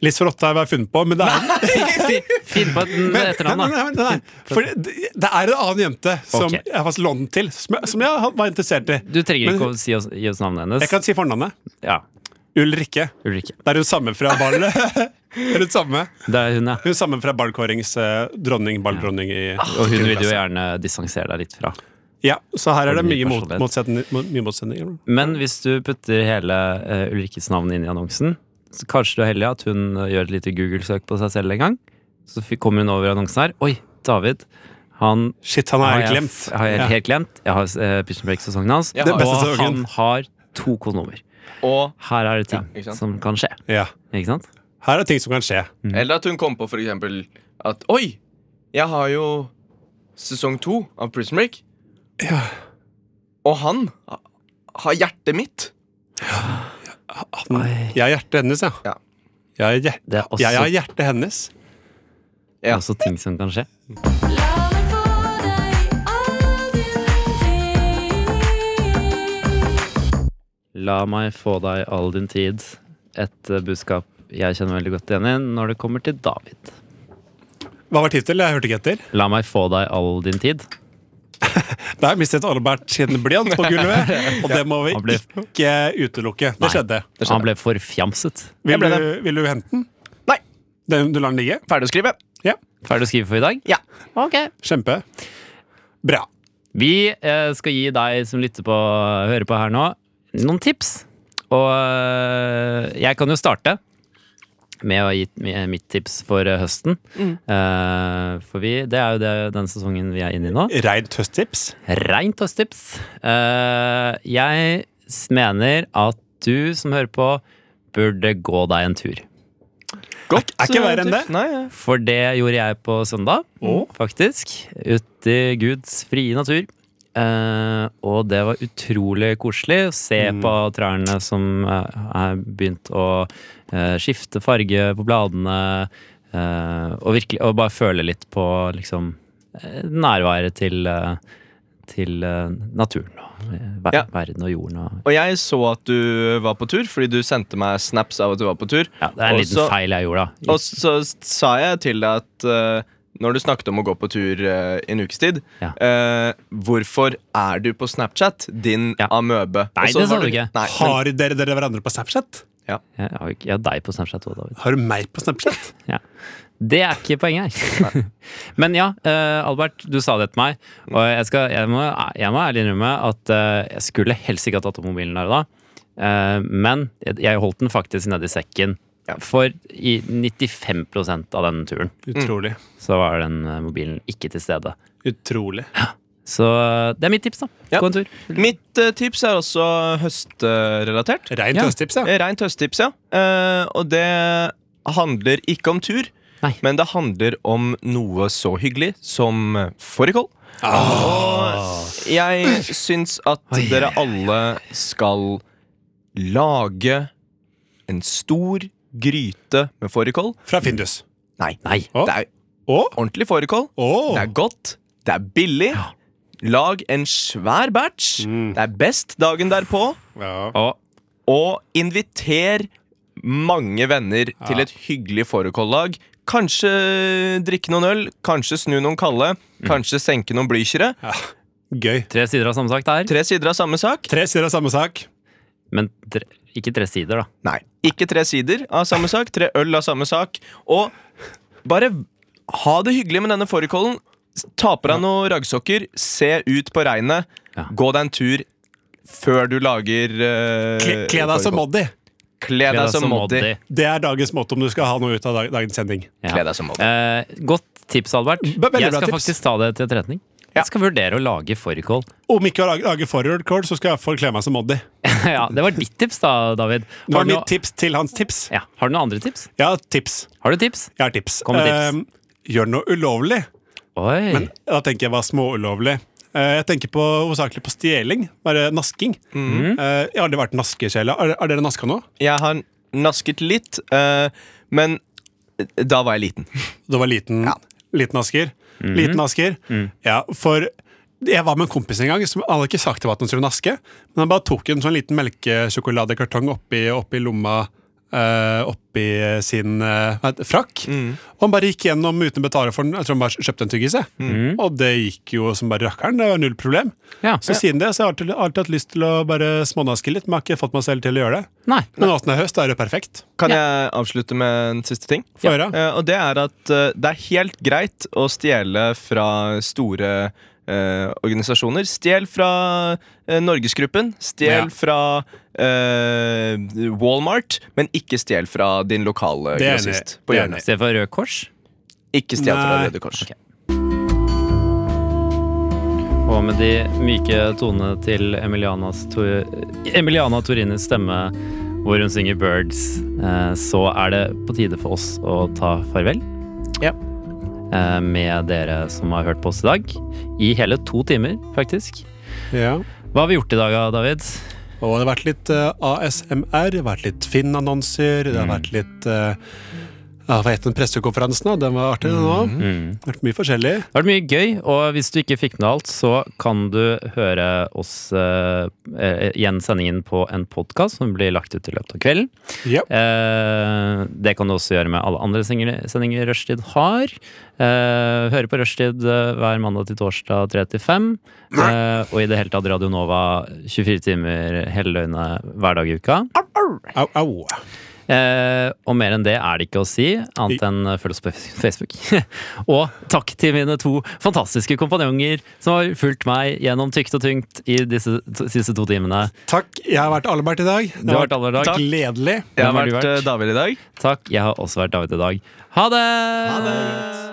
E: Liselotte har jeg bare funnet på, men det er
C: Finn på et etternavn,
E: Nei,
C: da.
E: nei, nei, nei, nei. For det, det er en annen jente som
C: Ok.
E: jeg faktisk lånte den til, som jeg, som jeg had- var interessert i.
C: Du trenger ikke
E: Men-
C: å si oss, gi oss navnet hennes.
E: Jeg kan si fornavnet.
C: Ja,
E: Ulrikke.
C: Ulrikke.
E: Det er hun samme fra Ball. Det er hun samme,
C: Det er hun, ja.
E: hun samme fra ballkårings eh, dronning, balldronning i
C: Og hun vil du gjerne distansere deg litt fra.
E: Ja, så her er det
C: Har du
E: mye
C: mye
E: mot,
C: personlighet?
E: motsetning- mot- mye motsetninger.
C: Men hvis du putter hele eh, Ulrikkes navn inn i annonsen, så kanskje du er heldig at hun eh, gjør et lite Google-søk på seg selv en gang. Så fi- kommer hun over annonsen her. Oi, David. Han
E: Shit, han
C: har
E: har
C: jeg,
E: jeg glemt.
C: f- har jeg
E: Ja.
C: helt glemt. Jeg har uh, Pitchen Break-sesongen hans.
D: Jeg har-
E: Den beste
C: Og han
E: sesongen.
C: har to kondomer.
D: Og,
C: Her er det ting
D: Ja, ikke sant?
C: som kan skje.
E: Ja.
C: Ikke sant?
E: Her er ting som kan skje.
D: Eller at hun kom på for eksempel at Oi, jeg har jo sesong to av Prison Break. Og han ha- har hjertet mitt.
E: Han,
C: Oi.
E: jeg er hjertet hennes, ja.
D: Ja.
E: Jeg er hjer-
C: Det er også,
E: jeg er hjertet hennes.
D: Ja.
C: også ting som kan skje. La meg få deg all din tid. Et eh, budskap jeg kjenner veldig godt igjen i når det kommer til David.
E: Hva var tittelen? Jeg hørte ikke etter.
C: La meg få deg all din tid.
E: Der mistet Albert sin blyant på gulvet, og det må vi
C: Han ble-
E: ikke utelukke. Det
C: Nei.
E: skjedde.
C: Han ble forfjamset.
E: Vil
D: ble
E: du, vil du hente den?
D: Nei.
E: Den, du lar den ligge?
D: Ferdig å skrive.
E: Ja.
C: Ferdig å skrive for i dag?
D: Ja.
C: Ok.
E: Kjempe. Bra.
C: Vi eh, skal gi deg som lytter på, hører på her nå, noen tips. Og eh, jeg kan jo starte med å gi med mitt tips for eh, høsten. Eh, for vi, det er jo det, den sesongen vi er inne i nå.
E: Reint høsttips.
C: Reint høsttips. Eh, jeg s- mener at du som hører på, burde gå deg en tur.
D: Godt. eh,
E: Er ikke verre enn det.
D: Nei, ja.
C: For det gjorde jeg på søndag, faktisk. Ute i Guds frie natur. Eh, og det var utrolig koselig å se
D: Mm.
C: på trærne som eh, er begynt å eh, skifte farge på bladene. eh, og, virkelig, og bare føle litt på liksom, eh, nærværet til, eh, til eh, naturen og eh, ver
D: Ja.
C: verden og jorden. Og,
D: Og jeg så at du var på tur, fordi du sendte meg snaps av at du var på tur.
C: ja, det er en
D: Og
C: liten
D: så-
C: feil jeg gjorde, da.
D: Og så sa jeg til deg at eh, når du snakket om å gå på tur eh, en ukes tid
C: Ja.
D: eh, Hvorfor er du på Snapchat, din
C: Ja.
D: amøbe?
C: Nei,
D: Og så
C: det sa
D: var
C: du ikke.
D: Nei, men,
E: Har dere dere hverandre på Snapchat?
C: Jeg har jo ikke- jeg har deg på Snapchat òg, David.
E: Har du meg på Snapchat?
C: Det er ikke poenget her. Men ja, eh, Albert, du sa det til meg, og jeg, skal, jeg, må, jeg må ærlig innrømme at eh, jeg skulle helst ikke ha tatt opp mobilen der og da, Eh, men jeg, jeg holdt den faktisk nedi sekken.
D: Ja.
C: For i 95 av denne turen
E: Utrolig.
C: så var den eh, mobilen ikke til stede.
E: Mm. Utrolig.
C: Så eh, det er mitt tips, da.
D: Ja.
C: Gå en tur.
D: mitt eh, tips er også høstrelatert.
E: Reint
C: Ja.
E: høsttips, ja.
D: Eh, Rent høsttips, ja. Eh, og det handler ikke om tur,
C: Nei.
D: men det handler om noe så hyggelig som eh, fårikål. Og jeg syns at dere alle skal lage en stor gryte med fårikål.
E: Fra Findus.
D: Nei.
C: Nei.
D: Det er
E: Å?
D: ordentlig fårikål.
E: Å!
D: Det er godt. Det er billig. Lag en svær batch. Det er best dagen derpå.
E: Ja.
C: Og
D: Og inviter mange venner til et hyggelig fårikållag. Kanskje drikke noen øl, kanskje snu noen kalde, kanskje senke noen blykjere.
E: Gøy.
C: tre sider av samme sak der.
D: Tre sider av samme sak.
E: Tre sider av samme sak.
C: Men tre, ikke tre sider, da.
D: Nei, ikke tre sider av samme sak. Tre øl av samme sak. Og bare ha det hyggelig med denne fårikålen. S- Ta på deg noen raggsokker, se ut på regnet,
C: Ja.
D: gå deg en tur før du lager eh,
E: Kle, kle deg som
D: fårikål.
E: Moddi.
D: Kle deg
C: altså
D: som Moddi.
E: Det er dagens måte om du skal ha noe ut av dag- dagens sending.
C: Ja.
D: Kle deg som Moddi.
C: Eh, godt tips, Albert.
E: Ve- veldig
C: jeg
E: bra
C: skal
E: tips.
C: faktisk ta det til etterretning.
D: Ja.
C: Jeg skal vurdere å lage fårikål.
E: Om ikke å lage, lage forward call, så skal jeg få kle meg som Moddi.
C: ja, det var ditt tips, da, David.
E: Det
C: Har
E: var
C: du,
E: mitt
C: noe,
E: tips til hans tips.
C: ja, har du noen andre tips?
E: Jeg har tips.
C: Har du tips?
E: Jeg har tips.
C: Kom med tips.
E: Ehm, gjør noe ulovlig.
C: Oi.
E: Da tenker jeg hva småulovlig. Eh, jeg tenker på, hovedsakelig på stjeling. Bare nasking.
C: Mm.
E: Eh, jeg har aldri vært naskekjele. Har, har dere naska nå?
D: Jeg har nasket litt, eh, men eh, da var jeg liten.
E: Det var liten, liten Asker.
D: Mhm.
E: Liten Asker. Ja, for jeg var med en kompis en gang som han hadde ikke sagt det var at han skulle naske, men han bare tok en sånn liten melkesjokoladekartong oppi, oppi lomma. eh, oppi sin eh, hva heter det, frakk. Og han bare gikk gjennom uten å betale for den. Jeg tror han bare kjøpte en tyggis. jeg.
D: Mhm.
E: Og det gikk jo som bare rakkeren. Det var null problem.
C: Ja.
E: Så siden det så har jeg alltid, alltid hatt lyst til å bare smånaske litt, men jeg har ikke fått meg selv til å gjøre det.
C: Nei.
E: Men nå som det er høst, da er det perfekt.
D: Kan jeg avslutte med en siste ting?
E: Få høre.
D: Eh, og det er at eh, det er helt greit å stjele fra store eh, organisasjoner. Stjel fra eh, Norgesgruppen, stjel
E: Ja.
D: fra eh, Walmart, men ikke stjel fra din lokale
E: Det er enig.
D: grossist
E: Det
D: på
E: er
D: hjørnet.
C: I stedet for Rød Kors.
D: Ikke stjel fra
E: Nei.
D: Røde Kors.
C: Ok. Og med de myke tonene til Emilianas Tor- Emiliana Torines stemme, hvor hun synger 'Birds', eh, så er det på tide for oss å ta farvel.
D: Ja.
C: Eh, Med dere som har hørt på oss i dag. I hele to timer, faktisk.
E: Ja.
C: Hva har vi gjort i dag, da, David?
E: Og det har vært litt eh, ASMR, det har vært litt Finn-annonser, det har
C: Mm.
E: vært litt eh, ja, Hva het den pressekonferansen? da? Den var artig, den òg.
C: Mm.
E: Det har vært mye forskjellig.
C: Det har vært mye gøy, og hvis du ikke fikk med alt, så kan du høre oss eh, eh, igjen sendingen på en podkast som blir lagt ut i løpet av kvelden.
E: Ja.
C: Eh, det kan du også gjøre med alle andre sendinger, sendinger Rushtid har. Eh, høre på Rushtid eh, hver mandag til torsdag 3 til 5. Eh, og i det hele tatt Radio Nova 24 timer hele døgnet hver dag i uka.
E: Au, au.
C: Eh, og mer enn det er det ikke å si, annet enn eh, følg oss på Facebook. og takk til mine to fantastiske kompanjonger som har fulgt meg gjennom tykt og tungt i disse t siste to timene.
E: Takk. Jeg har vært Albert i dag. Det
C: Du har vært Albert i dag.
E: gledelig.
D: Jeg har
C: Hvem har du
D: vært
C: vært?
D: eh, David i dag.
C: Takk. Jeg har også vært David i dag. Ha det! Ha det!